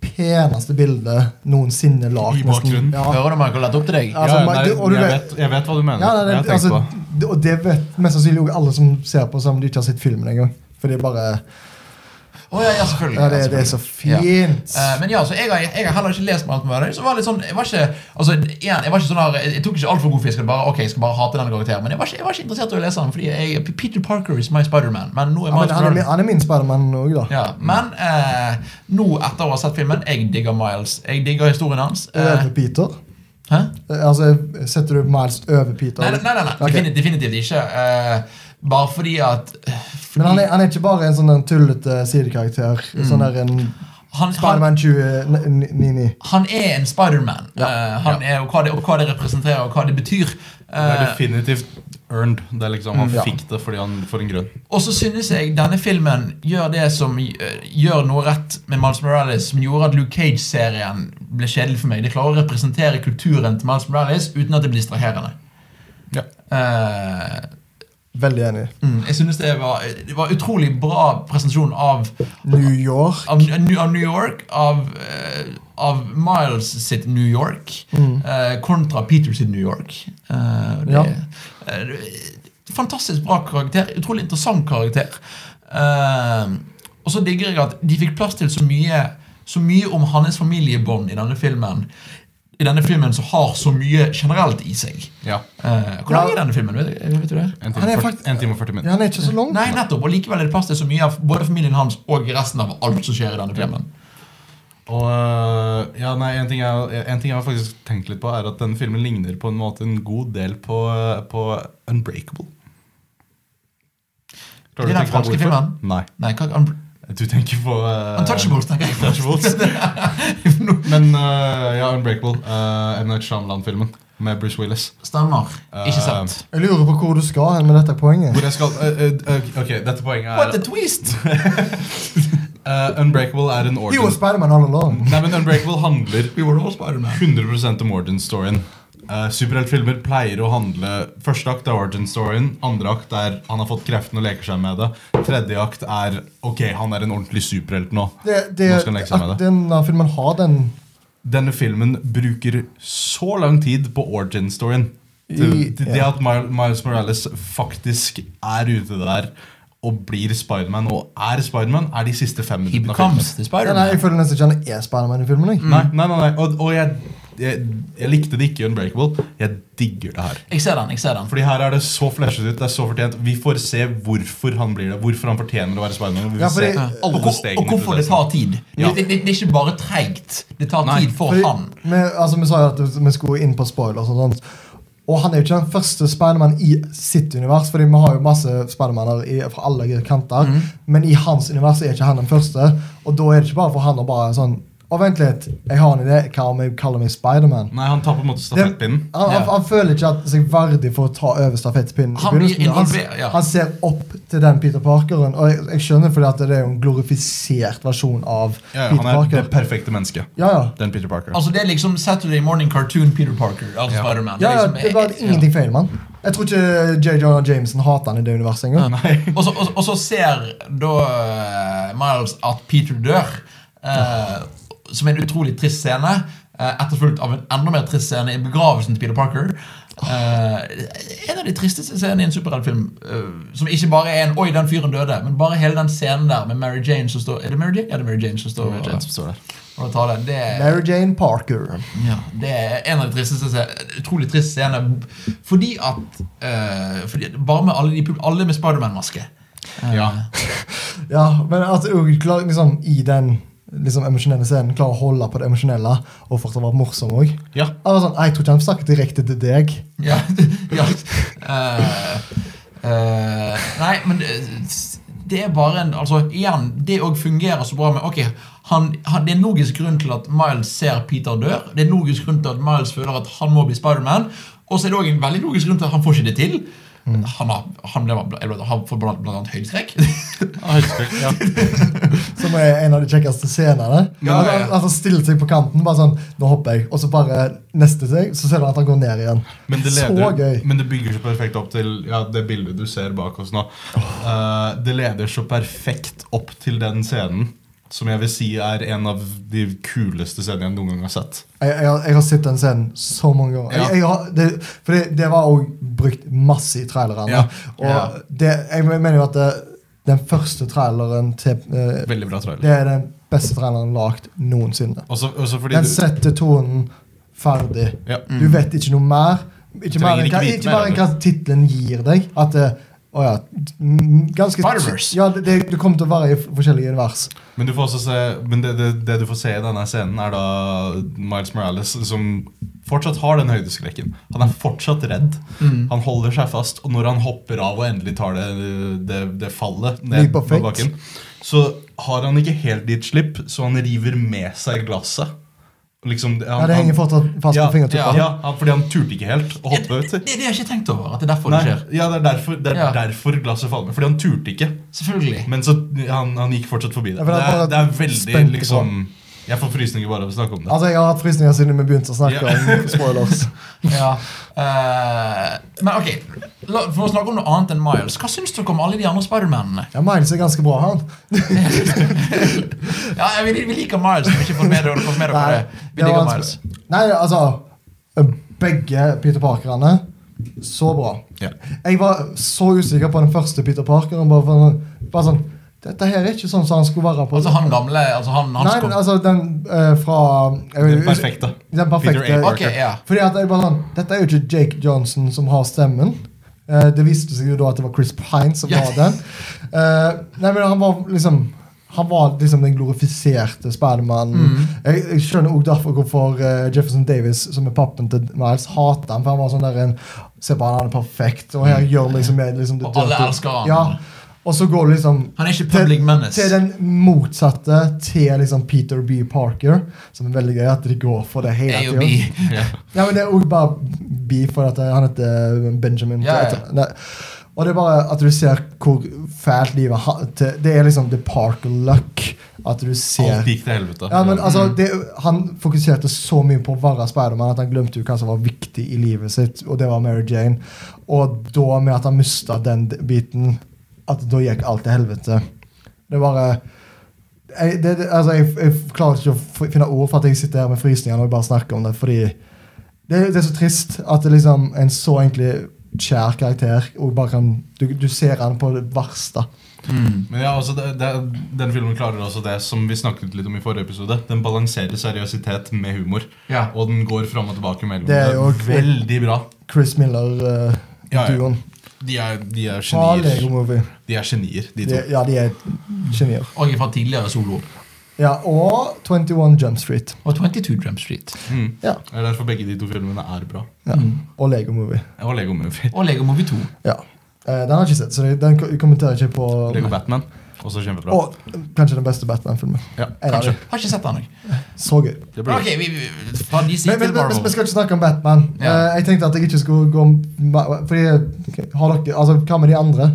S3: peneste bildet noensinne lagd.
S2: I bakgrunnen.
S3: Ja.
S1: Hører du, Michael? Dette er opp til deg.
S2: Ja,
S3: Altså,
S2: nei,
S3: men du- og du
S2: jeg,
S3: vet-
S2: vet, jeg vet hva du mener.
S3: Ja, nei,
S2: jeg
S3: det,
S2: har tenkt
S3: altså,
S2: på det.
S3: det- og det vet mest sannsynlig også alle som ser på, selv om de ikke har sett filmen engang. For det er bare
S1: Å, ja, ja, selvfølgelig.
S3: Ja, det, det er
S1: selvfølgelig.
S3: så fint.
S1: Eh, men ja, så jeg har, jeg har heller ikke lest Mount Murder. Så var det litt sånn, jeg var ikke altså, igjen, jeg var ikke sånn her, jeg, jeg tok ikke altfor god fisk. og Bare, ok, jeg skal bare hate denne karakteren Men jeg var ikke, jeg var ikke interessert i å lese den. Fordi jeg, Peter Parker is my Spiderman. Men nå er
S3: Ja, men
S1: Miles
S3: han, er,
S1: Morales-
S3: min- han er min Spiderman òg, da.
S1: Ja, men eh, nå etter å ha sett filmen, jeg digger Miles. Jeg digger historien hans. Eh,
S3: Over Peter.
S1: hæ?
S3: Eh, Altså, Setter du Miles over Peter?
S1: Nei, nei, nei, nei, nei.
S3: Ok.
S1: Defini- definitivt ikke. Eh, bare fordi at eh,
S3: Men
S1: fordi,
S3: han er, han er ikke bare en sånn en tullete sidekarakter. Sånn der en
S1: Mm. han, han,
S3: Spiderman 2099.
S1: han er en Spiderman. Eh, han er- og, hva det- og hva det representerer, og hva det betyr.
S2: Det
S1: Eh,
S2: er definitivt earned. Det er liksom, han
S3: Mm, ja.
S2: fikk det fordi han får en grunn.
S1: og så synes jeg denne filmen gjør det som eh, gjør noe rett med Miles Morales, som gjorde at Luke Cage-serien ble kjedelig for meg. De klarer å representere kulturen til Miles Morales uten at det blir distraherende.
S2: Ja.
S1: Eh,
S3: Veldig enig.
S1: Mm, jeg synes det var, det var utrolig bra presentasjon av,
S3: New York.
S1: av, av New York, av, eh, av Miles sitt New York, eh, kontra Peter sitt New York. Eh, og det,
S3: Mm. Ja.
S1: eh, det- fantastisk bra karakter, utrolig interessant karakter. Eh, og så digger jeg at de fikk plass til så mye, så mye om hans familiebånd i denne filmen. I denne filmen som har så mye generelt i seg.
S2: Ja.
S1: Eh, hvor lang
S3: Ja.
S1: er denne filmen? Vet, vet du det?
S2: En
S3: Han
S2: time,
S3: er
S2: og
S3: faktisk-
S2: 40, en time og 40
S3: Ja,
S2: minutter.
S3: han er ikke så lang.
S1: Nei, nettopp, og likevel er det plass til så mye av både familien hans og resten av alt som skjer i denne filmen.
S2: Og øh, ja, nei, en ting, jeg, en ting jeg har faktisk tenkt litt på, er at denne filmen ligner på en måte en god del på, øh, på Unbreakable. Klarer
S1: Det er
S2: du å
S1: den
S2: tenke deg
S1: franske
S2: hvorfor?
S1: filmen? Nei, hva, un
S2: Nei. Du tenker på øh,
S1: Untouchables, tenker jeg.
S2: Untouchables. Men øh, ja, Unbreakable. Uh, M. Night Shyamalan-filmen med Bruce Willis.
S1: Stemmer. Ikke sett.
S3: Jeg lurer på hvor du skal hen med dette poenget.
S2: Hvor jeg skal øh, øh, Ok, dette poenget er
S1: What a twist!
S2: Øh, Unbreakable er en
S3: Jo,
S2: origin
S3: Spiderman all along.
S2: Nei, men Unbreakable handler
S1: We were all Spider-Man.
S2: 100 om origin-storyen. Uh, Superheltfilmer pleier å handle Første akt er origin-storyen. Andre akt er han har fått kreftene og leker seg med det. Tredje akt er ok, han er en ordentlig superhelt nå.
S3: Det, det,
S2: nå skal han leke seg
S3: at
S2: med det.
S3: denne filmen har den
S2: Denne filmen bruker så lang tid på origin-storyen. Det,
S3: I-
S2: det, det
S3: ja.
S2: at Mil- Miles Morales faktisk er ute der og blir Spiderman, og er Spiderman, er de siste fem
S1: He
S2: minuttene av filmen.
S1: becomes the
S3: ja, Nei,
S1: Spider-Man.
S3: Jeg føler nesten ikke han er Spiderman i filmen. Jeg.
S2: Nei, nei, nei, nei. Og, og jeg, jeg, jeg likte det ikke i Unbreakable. Jeg digger det her.
S1: Jeg ser den. jeg ser den.
S2: Fordi her er det så fleshet ut, det er så fortjent. Vi får se hvorfor han blir det, hvorfor han fortjener å være Spiderman. Vi vil
S3: Ja, fordi-
S2: se
S1: Ja. Og,
S2: alle
S1: hvor- og
S2: stegene i
S1: hvorfor det
S2: prosessen.
S1: tar tid.
S2: Ja.
S1: Det, det, det er ikke bare treigt. Det tar
S2: Nei,
S1: tid for
S3: Fordi
S1: han.
S3: Vi, altså, vi sa jo at vi skulle inn på spoilers og sånt. Og han er jo ikke den første Spiderman i sitt univers, Fordi vi har jo masse Spidermaner i- fra
S2: Mm.
S3: alle kanter. Men i hans univers er ikke han den første. Og da er det ikke bare for han å bare sånn Å, Og vent litt, jeg har en idé. Hva om jeg kaller meg Spiderman?
S2: Nei, han tar på en måte stafettpinnen.
S3: Han, han, han føler ikke at seg verdig for å ta over stafettpinnen. i
S1: Han blir
S3: begynnelsen.
S1: involver- ja.
S3: han ser opp til den Peter Parkeren, og jeg, jeg skjønner fordi at det er jo en glorifisert versjon
S2: Ja,
S3: av Peter
S2: han er det
S3: Parker.
S2: perfekte mennesket.
S3: ja, ja.
S2: Den Peter Parker.
S1: Altså Det er liksom Saturday Morning Cartoon Peter Parker. Altså Spider-Man.
S3: ja, ja,
S1: liksom,
S3: det var ingenting feil, mann. Jeg tror ikke J. Jonah Jameson hater han i det universet engang.
S2: Nei.
S1: Og så, og, og så ser da eh, Miles at Peter dør, eh, som er en utrolig trist scene. eh, Etterfulgt av en enda mer trist scene i begravelsen til Peter Parker. Eh, en av de tristeste scenene i en superheltfilm. eh, som ikke bare er en 'oi, den fyren døde', men bare hele den scenen der med Mary Jane som står Er det Mary Jane? Ja, det er Mary Jane som står
S2: Det
S1: ved
S2: er den som står der.
S1: og tar den. Det er,
S3: Mary Jane Parker.
S1: ja, det er en av de tristeste sce- Utrolig trist scene. Fordi at eh, fordi, at Bare med alle, de, pub- alle med Spiderman-maske. Eh,
S2: Ja.
S3: Ja, men at hun klarer liksom i den liksom emosjonelle scenen klarer å holde på det emosjonelle og fortsatt være morsom òg.
S2: Ja.
S3: Sånn, jeg tror ikke han snakker direkte til deg.
S1: Ja, ja. Eh, eh, Nei, men det, det er bare en Altså, igjen, det òg fungerer så bra med Ok, han, han, det er en logisk grunn til at Miles ser Peter dør. Det er en logisk grunn til at Miles føler at han må bli Spiderman. Og så er det òg en veldig logisk grunn til at han får ikke det til.
S2: Mm.
S1: Han har, han ble, ble, han får blant, blant annet høydeskrekk.
S2: Ah, Ja.
S3: Som er en av de kjekkeste scenene.
S2: Ja, ja,
S3: At
S2: ja.
S3: han- At han stiller seg på kanten, bare sånn Nå hopper jeg. Og så bare neste steg, så ser du at han går ned igjen.
S2: Men det,
S3: så
S2: leder,
S3: gøy.
S2: men det bygger så perfekt opp til ja, det bildet du ser bak oss nå. Eh, det leder så perfekt opp til den scenen som jeg vil si er en av de kuleste scenene jeg noen gang har sett.
S3: Jeg, jeg, har- jeg har sett den scenen så mange ganger.
S2: Ja.
S3: Jeg, jeg har, det, fordi det var òg brukt masse i trailerne.
S2: Ja.
S3: Og
S2: Ja.
S3: Det, jeg mener jo at det, den første traileren til eh,
S2: Veldig bra trailer.
S3: Det er den beste traileren lagd noensinne.
S2: Også, også fordi
S3: Den
S2: du,
S3: setter tonen ferdig.
S2: ja.
S3: Du vet ikke noe mer. Ikke
S2: Trenger
S3: mer enn
S2: ikke
S3: hva,
S2: vite
S3: ikke
S2: mer
S3: mer enn hva
S2: om
S3: tittelen gir deg. At det, å ja, mm, ganske
S1: Spider-Verse.
S3: Ja, det, det kommer til å være i f- forskjellige univers.
S2: Men, du får også se, men det, det, det du får se i denne scenen, er da Miles Morales som fortsatt har den høydeskrekken. Han er fortsatt redd.
S3: Mm.
S2: Han holder seg fast, og når han hopper av og endelig tar det, det, det fallet ned
S3: Leap
S2: på
S3: of faith.
S2: bakken, så har han ikke helt gitt slipp, så han river med seg glasset. Liksom, han,
S3: Ja, det henger fortsatt fast
S2: ja,
S3: på fingertuppene.
S2: Ja, ja, fordi han turte ikke helt å hoppe
S1: det,
S2: ut.
S1: det, det har jeg ikke tenkt over. At det er derfor
S2: Nei,
S1: det skjer.
S2: ja, det er derfor, det er
S1: Ja.
S2: derfor glasset faller ned. Fordi han turte ikke.
S1: Selvfølgelig.
S2: Men så, han, han gikk fortsatt forbi det.
S3: Ja,
S2: Det
S3: for han
S2: er,
S3: bare
S2: det er veldig
S3: spente på.
S2: liksom Jeg får frysninger bare av å snakke om det.
S3: Altså, Jeg har hatt frysninger siden vi begynte å snakke
S2: Ja.
S3: om spoilers.
S1: Ja. eh, men ok, La, for å snakke om noe annet enn Miles, hva syns dere om alle de andre Spidermanene?
S3: Ja, Miles er ganske bra, han.
S1: Ja, vi, vi liker Miles, men ikke fått med dere fått med dere
S3: Nei,
S1: det. Vi
S3: det var
S1: liker
S3: vanskelig.
S1: Miles.
S3: Nei, altså Begge Peter Parkerne Så bra.
S2: Ja.
S3: Jeg var så usikker på den første Peter Parkeren. Bare, for, sånn- bare sånn Dette her er ikke sånn som han skulle være på.
S1: Altså han gamle altså han, han
S3: Nei,
S1: som kom-
S3: altså den eh, fra jeg vet-
S2: Den perfekte.
S3: Den perfekte.
S2: Peter A.
S1: Ok, ja.
S3: Fordi at jeg bare sånn Dette er jo ikke Jake Johnson som har stemmen. Eh, det viste seg jo da at det var Chris Pine som
S1: Ja.
S3: var den. Eh, nei, men han var liksom han var liksom den glorifiserte Spiderman.
S1: Mm.
S3: Jeg, jeg skjønner også derfor hvorfor eh, Jefferson Davis, som er pappen til Miles, hater han. For han var sånn der en Se på han, han er perfekt. Og her gjør liksom, jeg liksom det
S1: Mm. Og alle
S3: dirty.
S1: elsker han.
S3: Ja. Og så går du liksom
S1: Han er ikke public
S3: til-
S1: menace.
S3: Til den motsatte til liksom Peter B. Parker, som er veldig gøy at de går for det hele
S1: er jo
S3: tiden.
S1: bi.
S2: Ja.
S3: Ja, men det er jo bare B for at eh, han heter Benjamin.
S1: Ja, ja.
S3: til- Nei. Og det er bare at du ser hvor fælt livet har til Det er liksom the Parker luck. At du ser
S2: Alt gikk til helvete.
S3: ja, men altså,
S2: Mm.
S3: det, Han fokuserte så mye på å være Spiderman at han glemte jo hva som var viktig i livet sitt, og det var Mary Jane. Og da med at han mista den d- biten, at da gikk alt til helvete. Det bare jeg, det, det- altså, jeg, jeg klarer ikke å f- finne ord for at jeg sitter her med frysninger når jeg bare snakker om det, fordi det, det er så trist at det liksom en så egentlig kjær karakter og bare kan, du, du ser han på det verste.
S2: Men ja, altså, det, det, den filmen klarer også det som vi snakket litt om i forrige episode. Den balanserer seriøsitet med humor.
S1: Ja.
S2: Og den går fram og tilbake mellom.
S3: Det er jo
S2: veldig bra.
S3: Chris eh, Miller-duoen.
S2: Ja, ja. De er, de er
S3: Fra Lego
S2: genier.
S3: Movie.
S2: De er genier, de to.
S3: De, ja, de er genier.
S1: Og jeg er fra tidligere solo.
S3: Ja, og 21 Jump Street.
S1: Og 22 Drum Street.
S2: Mm.
S3: Ja.
S2: Det er derfor begge de to filmene er bra.
S3: ja. Og Lego Movie.
S2: Og Lego Movie.
S1: Og Lego Movie 2.
S3: Ja. Eh, den har jeg ikke sett, så den ko- kommenterer jeg ikke på.
S2: Lego Batman. Også kjempebra.
S3: Og Eh, kanskje den beste Batman-filmen.
S2: Ja,
S3: En av
S2: kanskje.
S1: Har ikke sett den, jeg.
S3: de. Så gøy.
S2: Det blir
S1: Ok, vi, vi, fra DC
S3: Men, men,
S1: til
S3: men, men vi
S1: Marvel.
S3: skal ikke snakke om Batman.
S1: Ja.
S3: Eh, jeg tenkte at jeg ikke skulle gå om Ma- Fordi, har dere, altså, Hva med de andre?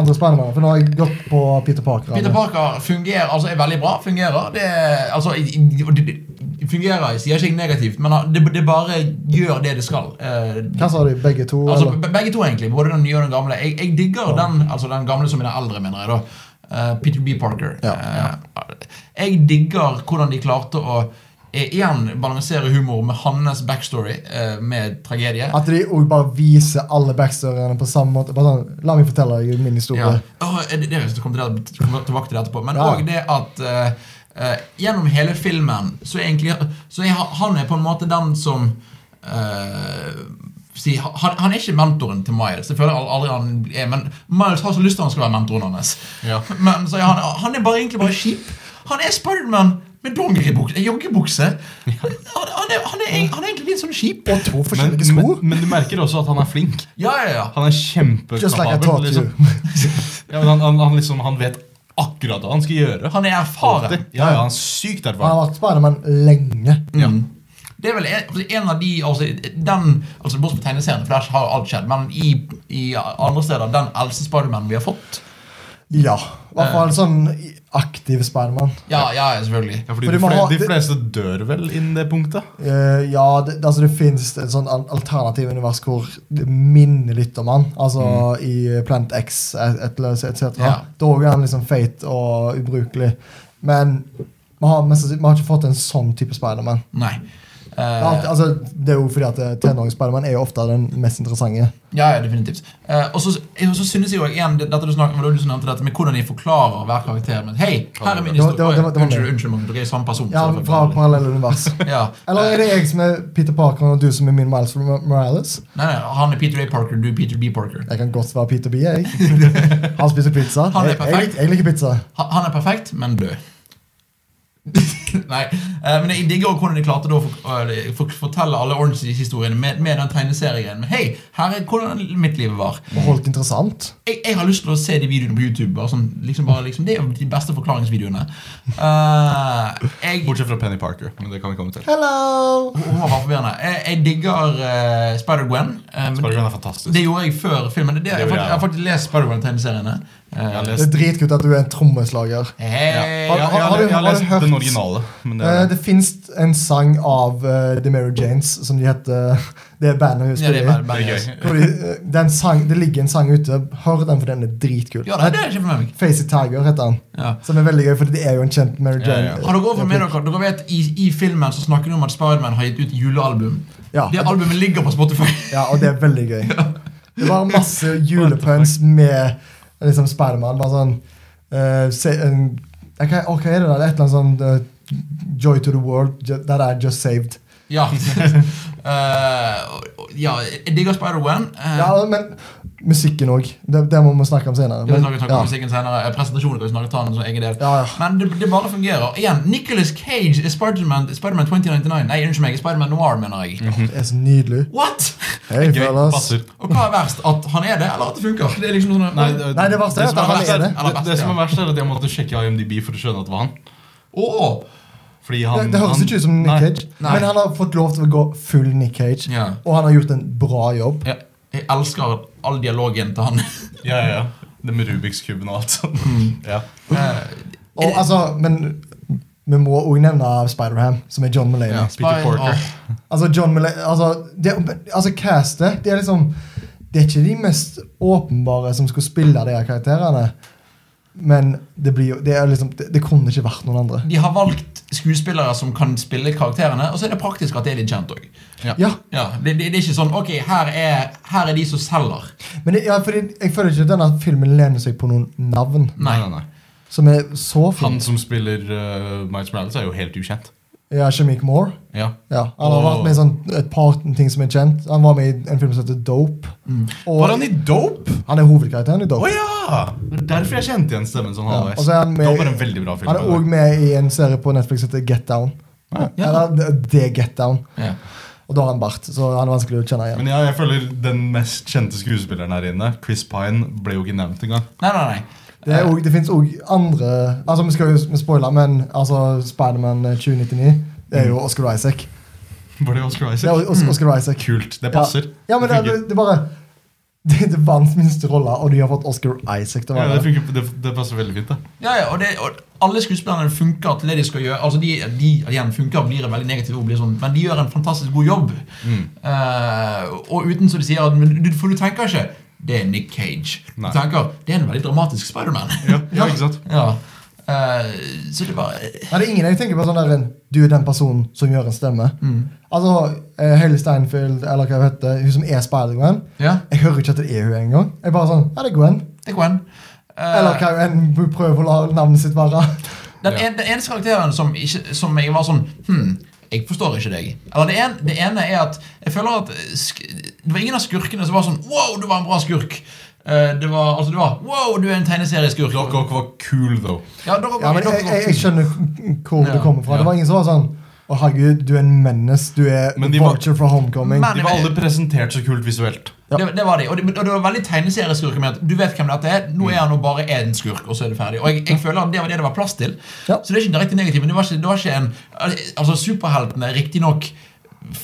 S3: Andre Spiderman? For nå har jeg gått på Peter Parker.
S1: Peter Parker fungerer, altså er veldig bra. Fungerer. Det, er- altså, i- i- og det, det fungerer, jeg sier ikke jeg negativt, men han- det, det bare gjør det det skal. Eh,
S3: Hva sa du, begge to?
S1: Altså,
S3: eller?
S1: be- begge to, egentlig. Både den nye og den gamle. Jeg, jeg digger den, altså den gamle som er den eldre, mener jeg. da Eh, Peter B. Parker.
S3: Ja.
S1: Eh, jeg digger hvordan de klarte å eh, igjen balansere humor med hans backstory eh, med tragedie.
S3: At de òg bare viser alle backstoryene på samme måte. Bare sånn, La meg fortelle deg min historie.
S1: Ja. Åh, det, det, det kommer til det, kommer tilbake til det etterpå. Men
S3: Ja.
S1: òg det at eh, eh, gjennom hele filmen så er egentlig Så er han- han er på en måte den som eh, si, han, han er ikke mentoren til Miles. Jeg føler aldri han er Men Miles har så lyst til at han skal være mentoren hans.
S2: Ja.
S1: Men så er han, han er bare, egentlig bare kjip. Han er Spiderman med dongeribukse, eh, joggebukse. Han, han, er, han, er, eng- han er egentlig litt sånn kjip.
S3: Og to
S2: Men,
S3: forskjellige sko.
S2: men, men du merker også at han er flink.
S1: Ja, ja, ja.
S2: Han er
S3: Just like I
S2: kjempekapabel.
S3: taught you.
S2: Liksom. Ja, men han, han, han, liksom, han vet akkurat hva han skal gjøre.
S1: Han er erfaren.
S2: Alltid. Ja, ja, han er sykt
S3: Han har
S2: erfaren.
S3: vært Spiderman lenge.
S1: Mm. Det er vel en, altså, en av de altså, den, altså Bortsett fra tegneseriene, for der har alt skjedd. Men i, i andre steder den eldste Spiderman vi har fått.
S3: Ja. I hvert fall sånn aktiv Spiderman.
S1: Ja, ja, ja, selvfølgelig.
S2: Ja, fordi
S3: Fordi
S2: de,
S3: man
S2: fle-
S3: har-
S2: de fleste dør vel innen det punktet.
S3: Eh, ja, det, altså det fins et sånn al- alternativ univers hvor det minner litt om han. Altså i Plant X etc. Et ja.
S1: Ja.
S3: Da er han liksom feit og ubrukelig. Men vi har, mest sannsynlig- vi har ikke fått en sånn type Spiderman.
S1: Nei.
S3: Det er alltid-
S1: Eh,
S3: Altså, det er jo fordi at eh, tenårings-Spiderman er jo ofte den mest interessante.
S1: ja, ja, definitivt. Eh, og så og så synes jeg jo igjen det- dette du snakker, det var du som nevnte dette med hvordan de forklarer hver karakter. Men hei, her er min
S3: Det var- det var-
S1: historie.
S3: det var- det var
S1: Unnskyld,
S3: meg.
S1: unnskyld, Magnus, dere er samme person.
S3: Ja,
S1: så det er
S3: Fra
S1: for-
S3: parallelle univers.
S1: ja.
S3: Eller er det jeg som er Peter Parker, og du som er min Miles Morales?
S1: Nei, nei, han er Peter A. Parker, du er Peter B. Parker.
S3: Jeg kan godt være Peter B, jeg. Han spiser pizza.
S1: Han er
S3: Jeg, jeg,
S1: perfekt.
S3: lik- jeg liker pizza.
S1: Han han er perfekt, men død. Nei, eh, men jeg digger også hvordan de klarte da å for- å for- fortelle alle Orange-historiene med, med den tegneserien. Men hei, her er hvordan mitt liv var.
S3: Og holdt interessant.
S1: Jeg, jeg har lyst til å se de videoene på YouTube. Bare sånn, liksom bare, liksom, det er jo de beste forklaringsvideoene. Eh, jeg,
S2: Bortsett fra Penny Parker. Men det kan vi komme til.
S3: Hello!
S1: hun var bare forvirrende. Jeg, jeg digger eh, Spider-Gwen. eh, men
S2: Spider-Man er fantastisk.
S1: det gjorde jeg før filmen. Det, er det, jeg, har faktisk, jeg har faktisk lest Spider-Gwen-tegneseriene.
S2: Jeg har
S1: Eh,
S3: Det er
S2: lest,
S3: dritkult at du er en trommeslager.
S2: ja.
S1: hei,
S2: jeg, jeg,
S3: har
S2: har-
S3: du-
S2: jeg har
S3: har du
S2: lest
S3: hørt-
S2: den originale. Men det
S3: Eh,
S2: er,
S3: Det fins en sang av eh, The Mary Janes som de heter Det er bandet
S1: Ja,
S3: hun
S1: det
S3: spiller
S1: er
S3: i.
S1: bare- bare-
S2: det
S1: Ja,
S2: er gøy.
S3: Hvor de, eh, det er en sang- Det ligger en sang ute. Hør den, for den er dritkul.
S1: det er det jeg ikke for meg.
S3: Facey Tiger heter han.
S1: Ja.
S3: Som er veldig gøy, for det er jo en kjent Mary
S2: Ja,
S3: Jane.
S2: ja.
S1: Har dere også fått med dere, dere vet, i, I filmen så snakker de om at Spiderman har gitt ut julealbum.
S3: Ja.
S1: Det albumet ligger på Spotify.
S3: Ja, og det er veldig gøy. Det var masse julepunts med liksom Spiderman. Bare sånn eh, se, en- jeg kan- Å, Hva er det da? Det er et eller annet sånn eh, Joy to the world. ju- That I just saved.
S1: Ja. Eh, og- og- ja, jeg digger Spider-Wan. eh,
S3: Ja, men musikken òg. Det, det må vi snakke om senere.
S1: vi kan
S3: Men,
S1: snakke, snakke om
S3: ja.
S1: musikken senere. Eh, Presentasjonen kan vi snakke ta den som egen del.
S3: Ja, ja.
S1: Men det, det bare fungerer. Igjen, Nicolas Cage er Spiderman Spider 2099. Nei, unnskyld meg, Spiderman Noir, mener jeg.
S3: Det er så nydelig.
S1: What?!
S3: Hei,
S2: Gøy.
S3: fellas.
S2: Passer.
S1: Og hva er verst? At han er det, eller at det funker? Det er liksom sånn
S2: Nei,
S1: Åh,
S3: Nei, det verste er
S2: som
S3: at han
S2: verst
S3: er det.
S2: det, det som er verst, er at jeg måtte sjekke IMDb for å skjønne at det var han. Fordi han
S3: Det, det høres
S2: han-
S3: ikke ut som Nick
S2: Nei.
S3: Cage,
S1: Nei.
S3: men han har fått lov til å gå full Nick Cage.
S1: Ja.
S3: Og han har gjort en bra jobb.
S1: jeg, jeg elsker all dialogen til han.
S2: Ja, ja, ja. Det med Rubiks kuben og alt sånt.
S3: Mm.
S2: Ja.
S1: Eh,
S3: Og, altså, men vi må òg nevne Spider-Ham, som er John Mulaney.
S2: Ja. Peter Parker.
S1: Åh.
S3: Altså, John Mulaney altså, det, altså, castet Det er liksom Det er ikke de mest åpenbare som skulle spille de her karakterene. Men det blir jo Det, er liksom, det, det kunne ikke vært noen andre.
S1: De har valgt skuespillere som kan spille karakterene, og så er det praktisk at det er litt kjent òg.
S3: Ja,
S1: Ja, det, det, det er ikke sånn Ok, her er, her er de som selger.
S3: men det, ja, fordi jeg føler ikke at denne filmen lener seg på noen navn
S1: Nei.
S2: Nei, nei, nei.
S3: som er så
S2: Han
S3: fine.
S2: som spiller uh, Miles Morales, er jo helt ukjent.
S3: Ja, Shamik Moore.
S2: Ja.
S3: Ja, han har
S2: Og-
S3: vært med i sånn, et par ting som er kjent. Han var med i en film som heter Dope. Og
S2: Mm. Var han i Dope?
S3: han er hovedkarakteren i
S2: Å
S3: Dope.
S2: ja! Det er Derfor jeg kjente igjen stemmen sånn
S3: Ja,
S2: halvveis.
S3: og så er han med-
S2: Dope er en veldig bra film.
S3: Han er
S2: by the way.
S3: òg med i en serie på Netflix som heter Get Down.
S1: Ja.
S3: Eller det- Det er Get Down.
S1: Ja.
S3: Og da har han bart, så han er vanskelig å kjenne igjen.
S2: Men ja, jeg føler den mest kjente skuespilleren her inne, Chris Pine, ble jo ikke nevnt engang.
S1: Nei, nei, nei.
S3: Det, er også- det fins òg andre Altså, Vi skal jo spoile, men altså, Spiderman 2099 det er jo Oscar Isaac.
S2: Var Mm. det Oscar
S3: Det er
S2: Isaac?
S3: Os- Oscar Isaac.
S2: Kult. Det passer.
S3: Ja, men det,
S2: det, funker.
S3: det, det er bare Det det er verdens minste rolle, og de har fått Oscar Isaac til å
S2: ja, det,
S3: være det.
S2: funker. Det, det passer veldig fint, det.
S1: Ja, ja, og, det, og alle skuespillerne funker til det de skal gjøre. Altså, de, de igjen funker blir et veldig negativt ord, blir sånn, men de gjør en fantastisk god jobb.
S2: Mm.
S1: Eh, og uten, som de sier, at- men du- for du tenker ikke det er Nick Cage.
S2: Nei.
S1: Du tenker det er en veldig dramatisk Spiderman.
S2: Ja, ja, ikke sant?
S1: Ja. Eh, så det var
S3: Nei, det er ingen jeg tenker på sånn der en, Du er den personen som gjør en stemme.
S2: Mm.
S3: Altså, eh, Hailey Steinfeld, eller hva hun heter, hun som er Spider-Gwen
S1: Ja,
S3: Jeg hører ikke at det er hun engang. Jeg er bare sånn, ja, det er Gwen.
S1: det er Gwen. Eh,
S3: Eller hva hun enn hun prøver å la navnet sitt være.
S1: Den,
S2: Ja.
S1: en, den eneste karakteren som, ikke, som jeg var sånn Hm, jeg forstår ikke deg. Eller det, en, det ene er at jeg føler at eh, sk Det var ingen av skurkene som var sånn Wow, du var en bra skurk. Eh, det var altså det var Wow, du er en tegneserieskurk.
S2: Dere var cool, though.
S1: Ja, dere var-
S3: Ja, men
S1: dere
S3: jeg,
S1: var
S3: jeg, jeg
S1: kul.
S3: skjønner hvor det
S1: Ja,
S3: kommer fra.
S2: ja.
S3: Det var ingen som var sånn Å, herregud, du er en menace. Du er
S2: Men de var-
S3: vulture fra homecoming.
S1: Men-
S2: De var alle presentert så kult visuelt.
S3: Ja.
S1: Det, det var de. Og det, og det var veldig tegneserieskurker med at du vet hvem dette er.
S3: Mm.
S1: Nå er han jo bare én skurk, og så er det ferdig. Og jeg, jeg føler at det var det det var plass til.
S3: Ja.
S1: Så det er ikke direkte negativt. Men det var ikke, det var ikke en Altså, superheltene riktignok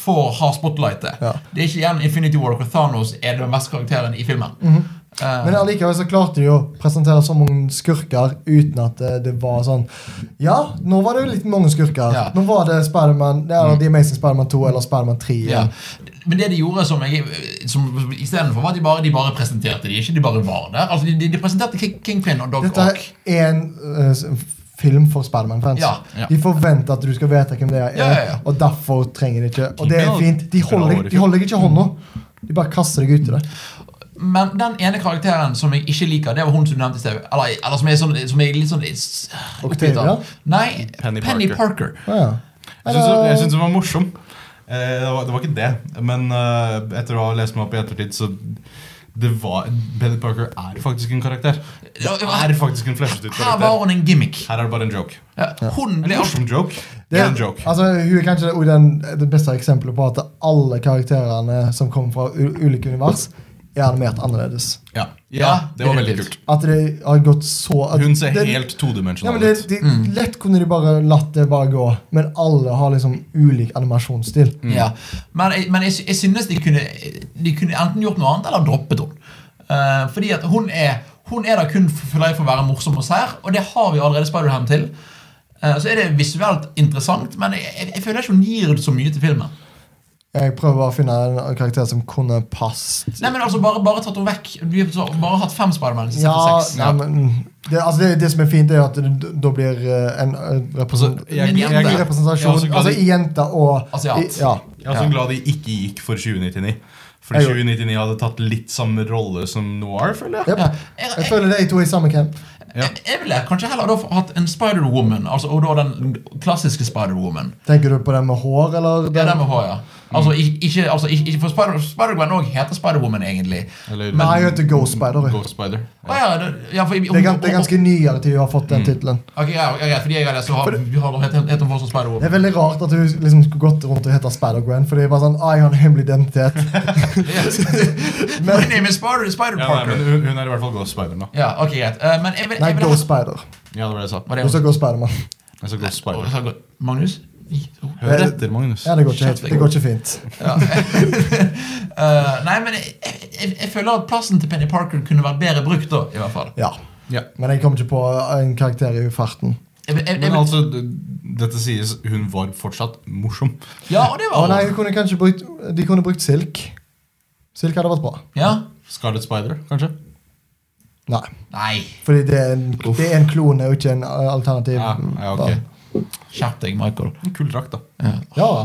S1: får ha spotlightet.
S3: Ja.
S1: Det er ikke igjen Infinity War hvor Thanos er den mest karakteren i filmen.
S3: Mhm.
S1: Eh,
S3: Men allikevel så klarte de å presentere så mange skurker uten at det, det var sånn Ja, nå var det jo litt mange skurker.
S1: Ja. Mm.
S3: Nå var det Spiderman det er The Amazing Spiderman 2 eller Spiderman 3.
S1: ja.
S3: igjen.
S1: Men det de gjorde som jeg som, som, Istedenfor var at de bare, de bare presenterte de, ikke de bare var der. Altså, de, de, de presenterte King- Kingpin og Dog
S3: Dette
S1: Ock.
S3: er en eh, s- film for Spiderman-fans.
S1: Ja, ja.
S3: De forventer at du skal vite hvem det er,
S1: Ja, ja, ja.
S3: og derfor trenger de ikke Og det er
S2: Kingpin
S3: fint. De
S2: har-
S3: holder, deg- de holder deg ikke i hånda. De bare kaster deg ut i det.
S1: Men den ene karakteren som jeg ikke liker, det var hun som du nevnte i sted. Eller, eller som, er sånn, som er litt sånn s-
S3: Octavia?
S1: oppgitt av. Nei,
S2: Penny
S1: Penny,
S2: Parker.
S1: Parker.
S3: Ja, ja.
S2: Jeg syns- Jeg syns den var morsom. Eh, Det var, det var ikke det, men eh, etter å ha lest meg opp i ettertid, så det var, Benny Parker er faktisk en karakter. Det er faktisk en fleshet ut
S1: Her var
S2: karakter.
S1: hun en gimmick.
S2: Her er det bare en joke.
S1: Ja, Hun
S2: En
S1: ble også
S2: morsom joke. Det er en joke.
S3: Altså, hun er kanskje også den, det beste eksempelet på at alle karakterene som kommer fra u ulike univers, er animert annerledes.
S2: Ja, ja det var veldig kult.
S3: At det har gått så at
S2: Hun ser
S3: det-
S2: helt
S3: ja, men
S2: todimensjonal
S3: det,
S2: ut.
S3: de, Lett kunne de bare latt det bare gå, men alle har liksom ulik animasjonsstil.
S2: Mm.
S1: Ja. Men, jeg, men jeg, sy- jeg synes de kunne, de kunne enten gjort noe annet eller droppet henne. Eh, fordi at hun er Hun er der kun for, for å være morsom og sær, og det har vi allerede Spider-Ham til. Eh, så er det visuelt interessant, men jeg, jeg, jeg føler ikke hun gir så mye til filmen.
S3: Jeg prøver bare å finne en karakter som kunne passet.
S1: Nei, men altså, bare, bare tatt henne vekk. Vi har så- bare hatt fem Spider-Man.
S3: Ja,
S1: seks.
S3: nei, men det, altså det, det som er fint, er at det, da blir eh, en eh, represent
S2: Altså, jeg-
S1: jeg- jeg-
S3: en
S2: jeg er
S3: representasjon
S2: også glad
S3: Altså
S2: i-
S3: i jenta og
S1: Asiat.
S3: I, ja.
S2: Jeg er
S1: Ja.
S2: så glad de ikke gikk for 2099. Fordi
S3: Jeg gjorde-
S2: 2099 hadde tatt litt samme rolle som Noir, føler jeg.
S3: Jep.
S1: Ja. Jeg,
S3: Jeg
S1: jeg,
S3: føler de to er i samme camp.
S2: Ja.
S1: jeg, jeg ville kanskje heller da hatt en Spider-Woman, altså, og da den klassiske Spider-Woman.
S3: Tenker du på den med hår, eller?
S1: Det er den med H, ja.
S3: Mm.
S1: Altså, ik- ikke, altså, ik- ikke, for Spider- Spider-Gwen òg heter Spider-Woman, egentlig.
S2: Eller
S3: Nei, jeg heter Ghost Spider. jeg.
S2: Ghost Spider.
S1: Å ja, det, ja, for,
S3: Det er, gans, det er ganske nyere til hun har
S2: Mm.
S3: fått den tittelen.
S1: Ok, ja, ja, ja, fordi jeg har lest, så har, har heter, heter hun fortsatt
S3: Det
S1: Spider-Woman.
S3: er veldig rart at hun liksom skulle gått rundt og hete Spider-Gwen. Fordi det var sånn, ah, jeg har en hemmelig identitet
S1: My name is Spider, Spider
S2: Ja, nei, men
S1: Parker.
S2: hun, hun er i hvert fall Ghost Spider nå.
S1: Ja, ok, greit. Eh, men jeg vil,
S3: Nei,
S1: jeg vil
S3: Ghost Spider.
S2: Ja, det var det jeg sa.
S1: Var det
S3: Du sa Ghost Spiderman.
S2: Jeg sa Ghost
S1: Å,
S2: Spider.
S1: sa Ghost- Magnus?
S2: Hør etter, Magnus.
S3: Ja, det går ikke, helt, det går ikke fint.
S1: Ja. Eh, nei, men jeg, jeg, jeg, jeg føler at plassen til Penny Parker kunne vært bedre brukt, da. i hvert fall.
S3: Ja.
S2: Ja.
S3: Men jeg kom ikke på eh, en karakter i farten.
S1: Jeg, jeg, jeg,
S2: Men altså, d- dette sies hun var fortsatt morsom.
S1: ja, og det
S3: Å
S1: var
S3: nei, hun kunne kanskje brukt, De kunne brukt Silk. Silk hadde vært bra.
S1: Ja?
S2: Scarlet Spider, kanskje?
S3: Nei.
S1: Nei,
S3: Fordi det er en, det er en klone og ikke en eh, alternativ.
S2: Ja, ja ok.
S1: skjerp deg, Michael.
S2: Kul drakt, da.
S1: Ja.
S3: Ja,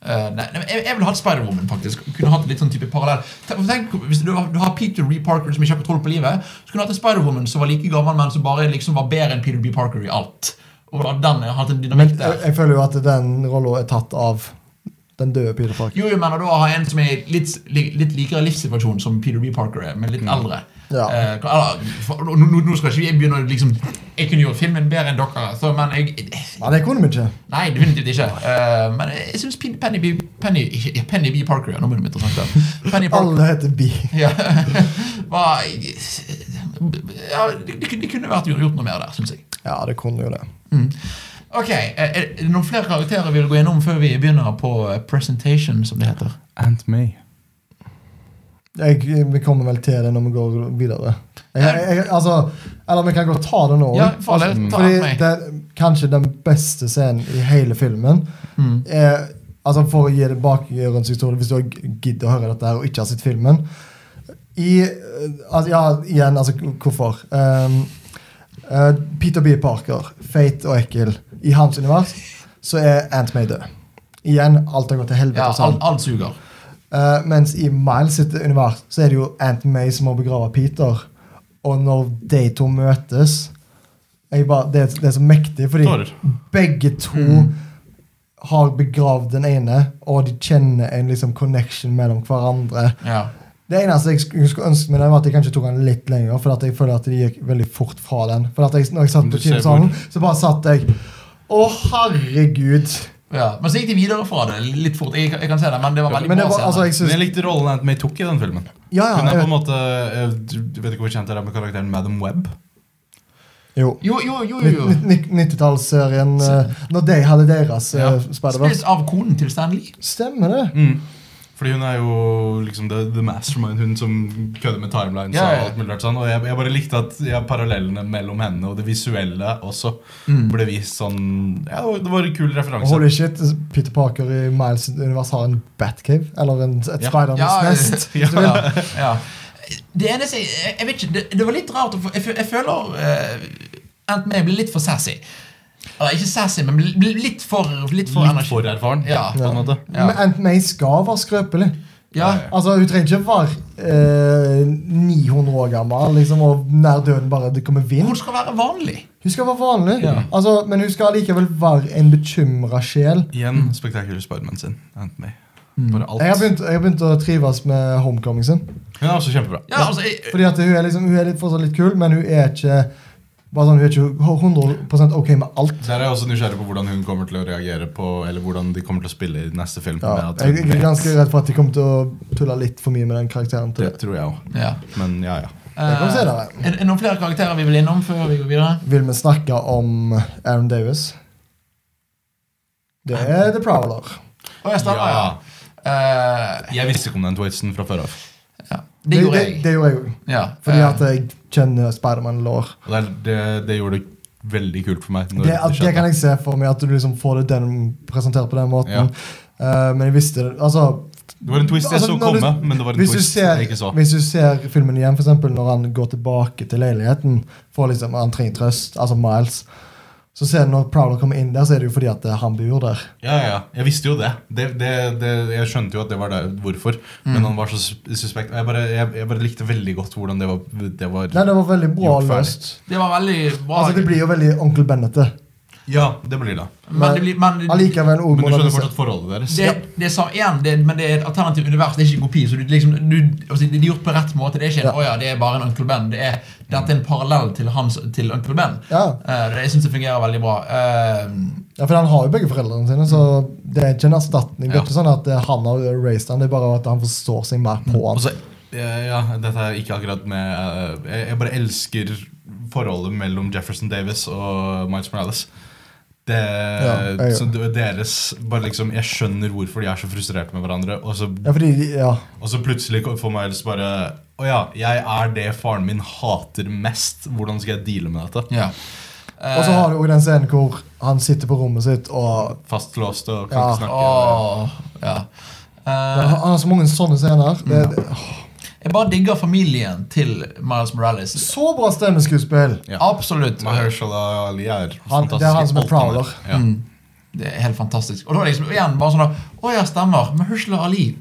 S1: Eh, nei, nei, men jeg, jeg ville hatt Spider-Woman, faktisk. Kunne hatt litt sånn type parallell. Tenk, tenk Hvis du, har- du har Peter B. Parker som ikke har kontroll på livet, så kunne du hatt en Spider-Woman som var like gammel, men som bare liksom var bedre enn Peter B. Parker i alt. Og da den hatt en
S3: Men eh,
S1: dynamikk
S3: jeg,
S1: der.
S3: jeg føler jo at den rolla er tatt av den døde Peter Parker.
S1: Jo, jo, men å da ha en som er i litt, li- litt likere livssituasjon som Peter B. Parker er, men litt eldre.
S3: Mm. Ja.
S1: Eh, eller, for, nå, nå- nå skal ikke jeg begynne å liksom Jeg kunne gjort filmen bedre enn dere, så, men jeg
S3: Nei, det kunne vi ikke.
S1: Nei, definitivt ikke. Eh, men jeg syns Penny, Penny, Penny, ikke- Penny B. Parker ja, Nå begynner det å bli interessant. ja. Penny Parker
S3: Alle heter Bi.
S1: ja, var, ja, de, de, kunne- de kunne vært gjort noe mer der, syns jeg. Mm.
S3: Ja, det kunne jo det.
S1: Ok, eh, Er det noen flere karakterer vi vil gå gjennom før vi begynner på eh, presentation, som det heter?
S2: Aunt May.
S3: Jeg, vi kommer vel til det når vi går videre. Jeg, jeg, jeg, altså, eller vi kan godt ta det nå.
S1: Ja, for all del, ta
S3: Fordi
S1: meg.
S3: det, kanskje den beste scenen i hele filmen
S1: Mm.
S3: er, altså For å gi det bakgrunnshistorie, hvis du gidder å høre dette her og ikke har sett filmen I, eh, altså, Ja, igjen, altså hvorfor? Um, eh, Peter B. Parker, feit og ekkel. I hans univers så er Ant May død. Igjen, alt har gått til helvete.
S1: Ja,
S3: hos han.
S1: alt, alt suger.
S3: Eh, mens i Miles sitt univers så er det jo Aunt May som må begrave Peter. Og når de to møtes jeg bare, det, er- det er så mektig, fordi
S2: Tårer.
S3: begge to har begravd den ene, og de kjenner en liksom connection mellom hverandre.
S1: Ja.
S3: Det eneste jeg sk- skulle ønske med den, var at jeg kanskje tok den litt lenger. For at jeg føler at det gikk veldig fort fra den. For at jeg, når jeg satt
S2: Men du
S3: på
S2: ser
S3: kinosalen, så bare satt jeg Å, herregud!
S1: Ja. Men så gikk de videre fra det litt fort. Jeg, jeg kan se det, men det var veldig
S3: Men det
S1: bra
S3: var,
S1: scene.
S3: altså, jeg
S2: Men
S3: synes,
S2: jeg likte rollen Aunt May tok i den filmen.
S3: ja, ja,
S2: Hun er
S3: jeg
S2: på en
S3: vet-
S2: måte eh, Du du vet ikke hvor kjent dere er med karakteren Madam Web?
S3: jo.
S1: Jo, jo, jo, jo. jo.
S3: Nitt- nitt- 90-tallsserien eh, Når de hadde deres
S2: Ja.
S3: ja. Spider-Verse.
S1: Spilt av konen til Stanley.
S3: Stemmer det?
S2: Fordi hun er jo liksom the, the mastermind, hun som kødder med timelines.
S1: Ja, ja, ja.
S2: Og alt mulig rart sånn Og jeg, jeg bare likte at ja, parallellene mellom henne og det visuelle også
S3: Mm.
S2: ble vist sånn Ja, det var- det var en kul referanse.
S3: Holy shit, Peter Parker i Miles' univers har en Batcave. Eller en, et
S2: Ja.
S3: Spidermans nest.
S1: ja, ja, ja. Det eneste jeg, jeg vet ikke, det, det var litt rart. å få- Jeg, fø- jeg føler uh, Ant May ble litt for sassy. Eller ikke sassy, men ble- ble litt for Litt for
S2: Litt
S1: energi.
S2: for erfaren.
S1: Ja.
S2: På en måte.
S1: Ja.
S3: Men Aunt May skal være skrøpelig.
S1: Ja,
S3: Altså, Hun trenger ikke være eh, 900 år gammel liksom, og nær døden bare det kommer vind.
S1: Hun skal være vanlig.
S3: Hun skal være vanlig,
S1: Ja.
S3: altså, men hun skal likevel være en bekymra sjel.
S2: Igjen spektakulær Spiderman sin. Aunt May. Bare alt.
S3: Mm. Jeg har begynt, jeg har begynt å trives med homecoming sin.
S2: Hun er også kjempebra.
S1: Ja, altså, jeg,
S3: Fordi at hun er, liksom, hun er litt, fortsatt litt kul, men hun er ikke bare sånn, hun er ikke 100 ok med alt.
S2: Der er jeg også nysgjerrig på hvordan hun kommer til å reagere på Eller hvordan de kommer til å spille i neste film.
S3: Ja,
S2: med at
S3: jeg,
S2: hun
S3: jeg er
S2: vet.
S3: ganske redd for at de kommer til å tulle litt for mye med den karakteren. til
S2: Det
S3: det.
S2: tror jeg òg.
S1: ja.
S2: Men ja, ja.
S3: Jeg kan se det.
S1: Eh, er det noen flere karakterer vi vil innom før vi går videre?
S3: Vil vi snakke om Aaron Davis? Det er The Prowler.
S1: Å, jeg starter, ja. Eh,
S2: Jeg visste ikke om den Twaitsen fra før av.
S1: ja. Det gjorde jeg.
S3: Det, det gjorde jeg òg.
S1: Ja.
S3: Fordi
S1: eh,
S3: at jeg kjenner Spiderman-lår.
S2: Og Det, er- det, det gjorde det veldig kult for meg. når
S3: Det, at, det
S2: skjedde.
S3: kan jeg se for meg, at du liksom får det den, presentert på den måten.
S2: Ja.
S3: Eh, men jeg visste det altså,
S2: det var en twist jeg
S3: Altså,
S2: så
S3: når du-
S2: komme, men det var en
S3: Hvis du,
S2: twist
S3: ser,
S2: jeg ikke så.
S3: hvis du ser filmen igjen, for eksempel når han går tilbake til leiligheten for liksom, han trenger trøst, altså Miles, så ser du når Prowler kommer inn der, så er det jo fordi at eh, han bor der.
S2: Ja, ja, Jeg visste jo det. Det, det, det. Jeg skjønte jo at det var der hvorfor.
S3: Mm.
S2: Men han var så sus- suspekt. Og jeg bare, jeg, jeg bare likte veldig godt hvordan det var, det var
S3: Nei, det var veldig bra
S2: Gjort ferdig.
S3: løst.
S1: Det var veldig bra.
S3: Altså, det blir jo veldig onkel Bennete.
S2: Ja, det blir det.
S1: men det blir, men,
S3: Allikevel
S2: Men
S3: òg
S2: du skjønner
S3: modernisert.
S2: fortsatt forholdet deres.
S1: Det, det sa én, det, men det er et alternativ univers. Det er ikke en kopi. så du, liksom, du, altså, Det er gjort på rett måte. Det er ikke en,
S3: Ja.
S1: «Å ja, det er bare en Uncle Ben. Det er, dette er en parallell til, hans, til Uncle Ben.
S3: Ja.
S1: Eh, det, jeg syns det fungerer veldig bra. Eh,
S3: ja, for han har jo begge foreldrene sine, så
S2: Mm.
S3: det er ikke en erstatning. Det er ikke sånn at eh, han har raised han, det er bare at han forstår seg mer på han.
S2: Altså, ja, ja, dette er ikke akkurat med eh, jeg, jeg bare elsker forholdet mellom Jefferson Davis og Miles Morales. Det,
S3: jeg
S2: så det- deres bare liksom, Jeg skjønner hvorfor de er så frustrerte med hverandre. Og så,
S3: Ja, fordi, ja.
S2: og så plutselig får Miles bare Å ja, jeg er det faren min hater mest. Hvordan skal jeg deale med dette?
S1: ja.
S3: Og
S2: Eh.
S3: så har du òg den scenen hvor han sitter på rommet sitt og
S2: Fastlåst og kan
S3: Ja.
S2: ikke snakke.
S1: Åh, ja.
S3: Ja,
S1: Eh,
S3: Han han har så mange sånne scener. Det, det,
S2: Mm.
S3: åh,
S1: jeg bare digger familien til Miles Morales.
S3: så bra stemmeskuespill!
S2: Ja.
S1: Absolutt.
S2: Mahershala Ali er fantastisk.
S3: Han- det er han som er
S2: i alt han gjør.
S3: prowler. Mm.
S2: Ja.
S1: Det er helt fantastisk. Og da er det liksom igjen bare sånn at, Å ja, stemmer. Mahershala Ali.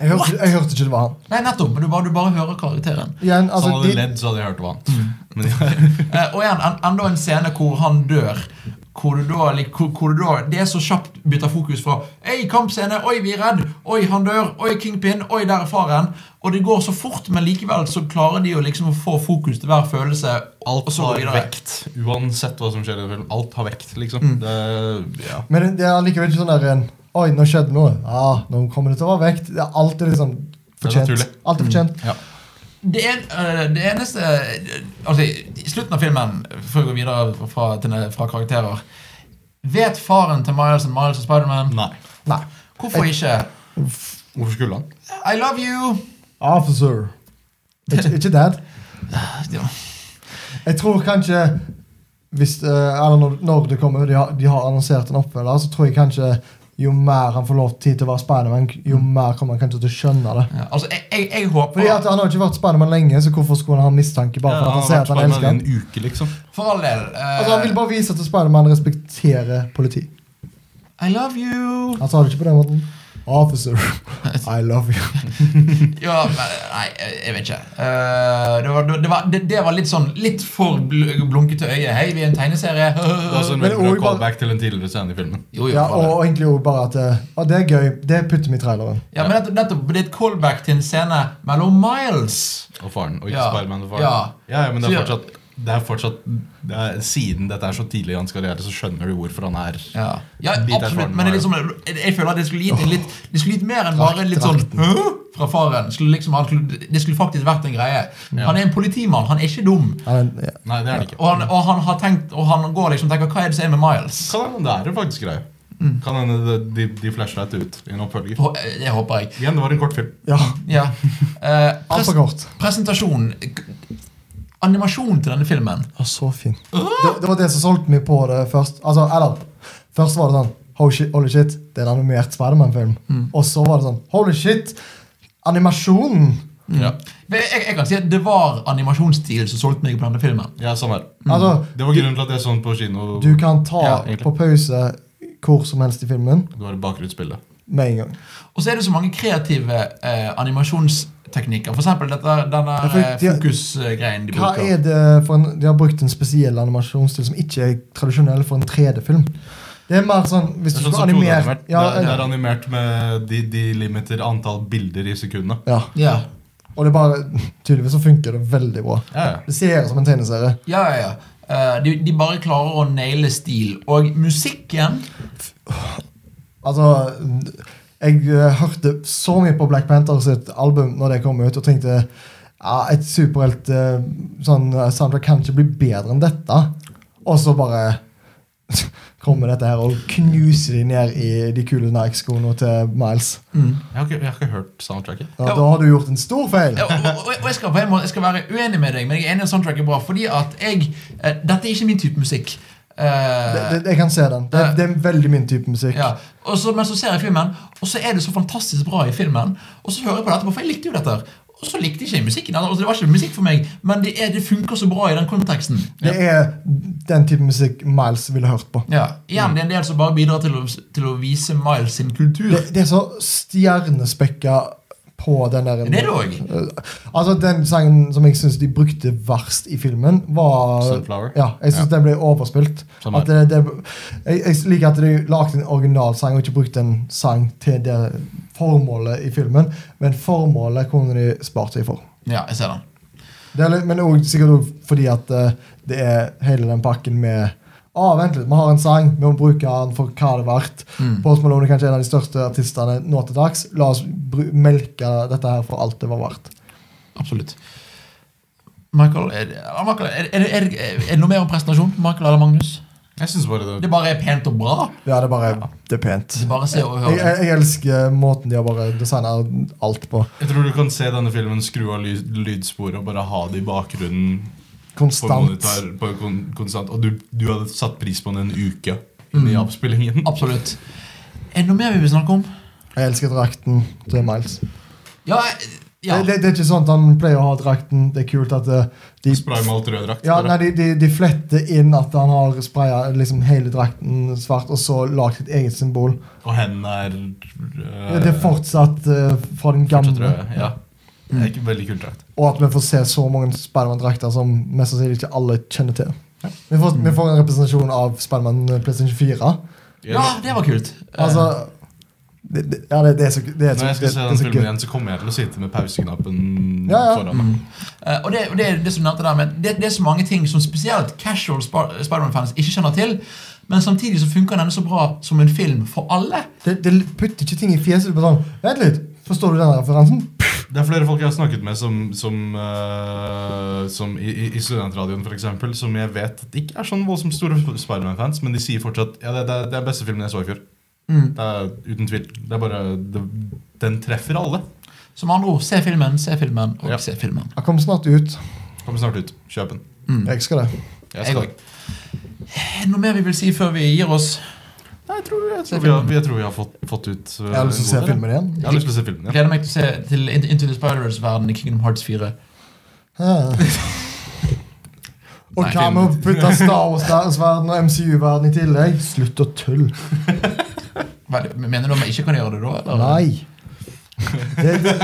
S3: Jeg hørte, jeg hørte ikke det var han.
S1: Nei, nettopp. Men du bare, du bare hører karakteren.
S3: Igjen,
S2: Så
S3: altså,
S2: hadde
S3: de, Mm.
S2: ledd, så hadde jeg hørt hva han. Men ja.
S1: Eh, og igjen, en, enda en scene hvor han dør. Hvor du da, lik- hvor, hvor du da Det er så kjapt bytter fokus fra Ei, kampscene! Oi, vi er redd! Oi, han dør! Oi, Kingpin! Oi, der er faren! Og det går så fort, men likevel så klarer de å liksom å få fokus til hver følelse.
S2: Alt
S1: og så
S2: har
S1: går videre.
S2: vekt, uansett hva som skjer i den filmen. Alt har vekt, liksom.
S3: Mm.
S2: Det, ja.
S3: men det er likevel ikke sånn der en Oi, nå skjedde Ah, noe. Ja, nå kommer det til å være vekt. Det er alltid liksom
S2: Det er
S3: fortjent.
S2: naturlig. Mm.
S3: Alltid fortjent.
S2: Ja.
S1: det, en, øh, det eneste Altså, i slutten av filmen, før vi går videre fra, til, fra karakterer Vet faren til Miles and Miles og Spiderman?
S2: Nei.
S3: Nei.
S1: Hvorfor ikke?
S2: Hvorfor skulle han?
S1: I love you!
S3: Officer. Ikke, ikke dad.
S1: Ja.
S3: Jeg tror kanskje hvis, eh, eller når, når det kommer, de har, de har annonsert en oppfølger, så tror jeg kanskje jo mer han får lov tid til å være Spiderman, jo
S2: Mm.
S3: mer kommer han kanskje til å skjønne det.
S1: Ja, Altså, jeg, jeg, jeg håper
S3: Fordi at Han har jo ikke vært Spiderman lenge, så hvorfor skulle han ha mistanke bare for at han ser at han
S2: Spiderman
S3: elsker han?
S2: i en uke, liksom.
S1: For all del eh,
S3: Altså, han vil bare vise at Spiderman respekterer politi.
S1: eh, I love you!
S3: Han sa det ikke på den måten. Officer, I love you.
S1: Ja, men, nei, jeg jeg vet ikke. Eh, det, var, det, var, det, det var litt sånn Litt for bl blunkete øye. Hei, vi er en tegneserie.
S2: Det er også en
S3: Men
S2: veldig bra
S3: også bare-
S2: callback til en tidligere scene i filmen.
S1: Jo, jo,
S3: Ja,
S1: for all del.
S3: og, og egentlig jo bare at eh, Å, det er gøy. Det putter vi i traileren.
S1: Ja, men nettopp, nettopp, Det er et callback til en scene mellom Miles.
S2: Og faren, og ikke
S1: Ja.
S2: Spiderman og faren.
S1: Ja.
S2: ja, ja, men det
S1: Så
S2: er
S1: ja.
S2: fortsatt, det er fortsatt det er, Siden dette er så tidlig i hans karriere, så skjønner du hvorfor han er
S1: Ja, ja
S2: Litt
S1: absolutt,
S2: erfaren
S1: men det er
S2: Miles.
S1: liksom, jeg, jeg føler at det skulle gitt en litt Det skulle gitt mer enn bare litt sånn
S3: Drakten.
S1: Hæ? fra faren. Skulle liksom, han skulle, det skulle faktisk vært en greie.
S2: Ja.
S1: Han er en politimann, han er ikke dum.
S3: Ja, men, ja.
S2: Nei, det er det ikke.
S1: Og han, og han har tenkt Og han går liksom og tenker Hva er det som er med Miles?
S2: Kan hende det er en faktisk greie. Kan hende det- de, de flasher deg ut i en oppfølger.
S1: Hå- eh, Det håper jeg.
S2: Igjen, det var en kort film.
S3: ja
S1: Ja. Eh, pres
S3: Altfor kort.
S1: presentasjon Animasjon til denne filmen.
S3: Ja, så fint. Det, det var det som solgte meg på det først. Altså, eller, Først var det sånn Holy shit, holy shit det er en animert Spiderman-film.
S1: Mm.
S3: Og så var det sånn Holy shit! Animasjonen!
S1: Ja. Men Jeg, jeg kan si at det var animasjonsstil som solgte meg på denne filmen.
S2: Ja, samme her.
S3: Altså,
S2: Det var grunnen til at jeg så den på kino.
S3: du kan ta
S1: Ja, egentlig.
S3: på pause hvor som helst i filmen
S2: Det var i bakgrunnsbildet.
S3: med en gang.
S1: Og så er det så mange kreative eh, animasjonsteknikker. For eksempel dette, denne
S3: Ja, for
S1: eh,
S3: de-
S1: fokusgreien de
S3: Hva
S1: bruker.
S3: er det for en, De har brukt en spesiell animasjonsstil som ikke er tradisjonell for en 3D-film. Det er mer sånn Hvis
S2: Det er
S3: du
S2: sånn som
S3: skulle animert
S2: animert.
S3: ja,
S2: det, er, det er animert med de, de limiter antall bilder i sekundet.
S3: ja,
S1: Ja,
S3: Og det er bare Tydeligvis så funker det veldig bra.
S2: Ja, ja.
S3: Det ser ut som en tegneserie.
S1: ja, ja. ja. Eh, de, de bare klarer å naile stil. Og musikken
S3: Altså, jeg eh, hørte så mye på Black Panther sitt album når det kom ut, og tenkte ja, et superhelt eh, sånn eh, soundtrack kan ikke bli bedre enn dette. Og så bare kommer dette her og knuser de ned i de kule Nike-skoene til Miles.
S2: Jeg, har ikke, jeg har ikke hørt soundtracket.
S3: Ja, da har du gjort en stor feil.
S1: ja, og, og, og jeg skal på en måte jeg skal være uenig med deg, men jeg er enig i at soundtrack er bra. Fordi at jeg eh, Dette er ikke min type musikk. Eh,
S3: Det, det, jeg kan se den. Det, det er veldig min type musikk.
S1: ja. og så, men så ser jeg filmen, og så er det så fantastisk bra i filmen. Og så hører jeg på dette, for jeg likte jo dette. her. Og så likte jeg ikke musikken. eller, Altså, det var ikke musikk for meg, men det, er, det funker så bra i den konteksten.
S3: Det er den type musikk Miles ville hørt på.
S1: Ja, igjen, Det er en del som bare bidrar til å, til å vise Miles sin kultur.
S3: Det, det er så stjernespekka på den der
S1: Det er det òg.
S3: Eh, Altså Den sangen som jeg syns de brukte verst i filmen, var
S2: Sunflower?
S3: Ja, jeg syns den ble overspilt.
S2: Samme
S3: At det, det, jeg, jeg liker at de lagde en originalsang og ikke brukte en sang til det formålet i filmen, men formålet kunne de spart seg for.
S1: Ja, jeg ser den.
S3: Det er, litt- men også, sikkert òg fordi at eh, det er hele den pakken med Å, vent litt, vi har en sang, vi må bruke den for hva det er verdt. Post Malone er kanskje en av de største artistene nå til dags. La oss bru melke dette her for alt det var verdt.
S1: Absolutt. Michael, er det, ja, Michael er, er, er, er det noe mer om presentasjon? Michael eller Magnus?
S2: Jeg synes bare det
S1: Det bare er pent og bra.
S3: Ja, det er bare Det er pent.
S1: Det er bare å se og
S3: Jeg,
S1: høre.
S3: jeg, jeg elsker måten de har bare designa alt på.
S2: Jeg tror du kan se denne filmen skru av lyd, lydsporet og bare ha det i bakgrunnen på
S3: Konstant.
S2: monitor på kon, konstant. Og du, du hadde satt pris på den en uke inn
S3: Mm.
S2: i avspillingen.
S1: Absolutt. Er det noe mer vi vil snakke om?
S3: Jeg elsker drakten til Miles.
S1: Ja, jeg- ja.
S3: Det, det, det er ikke sånn at han pleier å ha drakten. Det er kult at eh, de
S2: Spray malt rød drakt.
S3: ja,
S2: bare.
S3: nei, de, de, de fletter inn at han har spraya liksom hele drakten svart, og så lagd sitt eget symbol.
S2: Og hendene er øh,
S3: Ja, det er fortsatt eh, fra den
S2: fortsatt
S3: gamle. Mm.
S2: røde. Ja. Det er ikke veldig kult drakt.
S3: Og at vi får se så mange Spiderman-drakter som mest sannsynlig ikke alle kjenner til. Vi får,
S2: Mm.
S3: vi får en representasjon av Spiderman eh, PlayStation 4.
S1: ja, det var kult. Eh,
S3: Altså det, det, Ja, det, det er så det er så-
S2: Når jeg skal
S3: det-
S2: se
S3: det er
S2: den
S3: så
S2: filmen
S3: gøy.
S2: igjen, så kommer jeg til å sitte med pauseknappen
S3: Ja, ja.
S2: foran meg.
S1: eh, og det, og det, det som du nevnte der med det, det er så mange ting som spesielt casual Sp- Spiderman-fans ikke kjenner til. Men samtidig så funker denne så bra som en film for alle.
S3: Det, det putter ikke ting i fjeset. Bare sånn, Vent litt, forstår du den referansen?
S2: Det Det er flere folk jeg har snakket med som, som, eh, som i, i- i studentradioen for eksempel, som jeg vet at ikke er sånn voldsomt store Sp- Spiderman-fans, men de sier fortsatt ja, det, det, det er beste filmen jeg så i fjor.
S1: Mm.
S2: Det er Uten tvil. Det er bare, det, Den treffer alle.
S1: Som andre ord, se filmen, se filmen og
S2: Ja.
S1: se filmen.
S3: Han kommer snart ut.
S2: Mm. Kommer snart ut. Kjøp den.
S1: Mm.
S3: Jeg skal det.
S2: Jeg
S1: Jeg
S2: skal.
S1: går. Er det Eh, noe mer vi vil si før vi gir oss?
S2: Nei, jeg tror, jeg
S1: Se
S2: tror, vi, har,
S1: filmen.
S2: jeg tror vi har fått, fått ut eh,
S3: Jeg har lyst til å se
S2: en god del.
S3: filmen igjen.
S2: Jeg har lyst til å se filmen, ja.
S1: Gleder meg til å se til In- Into the Spiders-verden i Kingdom Hearts 4.
S3: Og
S1: Nei,
S3: hva med å putte Star Wars-verden og MCU-verden i tillegg? Slutt å tulle.
S1: Hva, mener du om jeg ikke kan gjøre det da? eller?
S3: Nei. Det, det,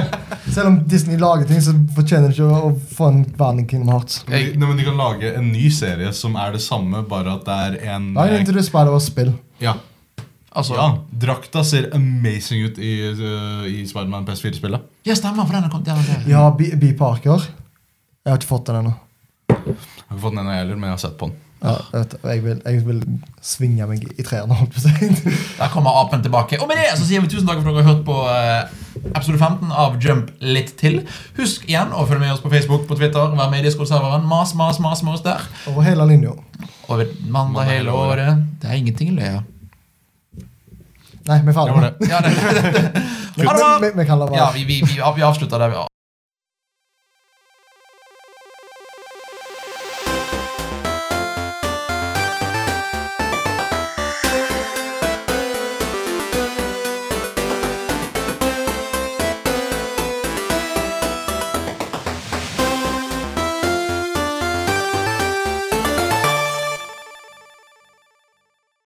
S3: selv om Disney lager ting, så fortjener de ikke å- å få en verden i Kingdom Hearts.
S2: Men de- Nei, men de kan lage en ny serie som er det samme, bare at det er en eh,
S3: Nei, inntil du spiller og spill.
S2: ja,
S1: Altså, ja.
S2: ja, Drakta ser amazing ut i, uh, i Spiderman PS4-spillet.
S1: stemmer, for den har kommet der og der.
S3: Ja, B. B. Parker. Jeg har ikke fått den ennå.
S2: Jeg har ikke fått den ennå heller, men jeg har sett på den.
S3: Ja, jeg vet det. jeg, vil, jeg vil svinge meg i trærne, holdt jeg på å si.
S1: Der kommer apen tilbake. Og med det så sier vi tusen takk for at dere har hørt på eh, episode 15 av Jump litt til. Husk igjen å følge med oss på Facebook, på Twitter, vær med i Discord-serveren. Mas, mas, mas med oss der.
S3: Over hele linja.
S1: Over mandag hele året. Det er ingenting å le av.
S3: Nei, vi er
S2: Det var
S3: ferdige.
S2: det.
S1: Ja, det- Ha det
S3: Men-
S1: bra!
S3: men- Vi kan la være.
S1: Ja, vi, vi, vi, vi avslutter der vi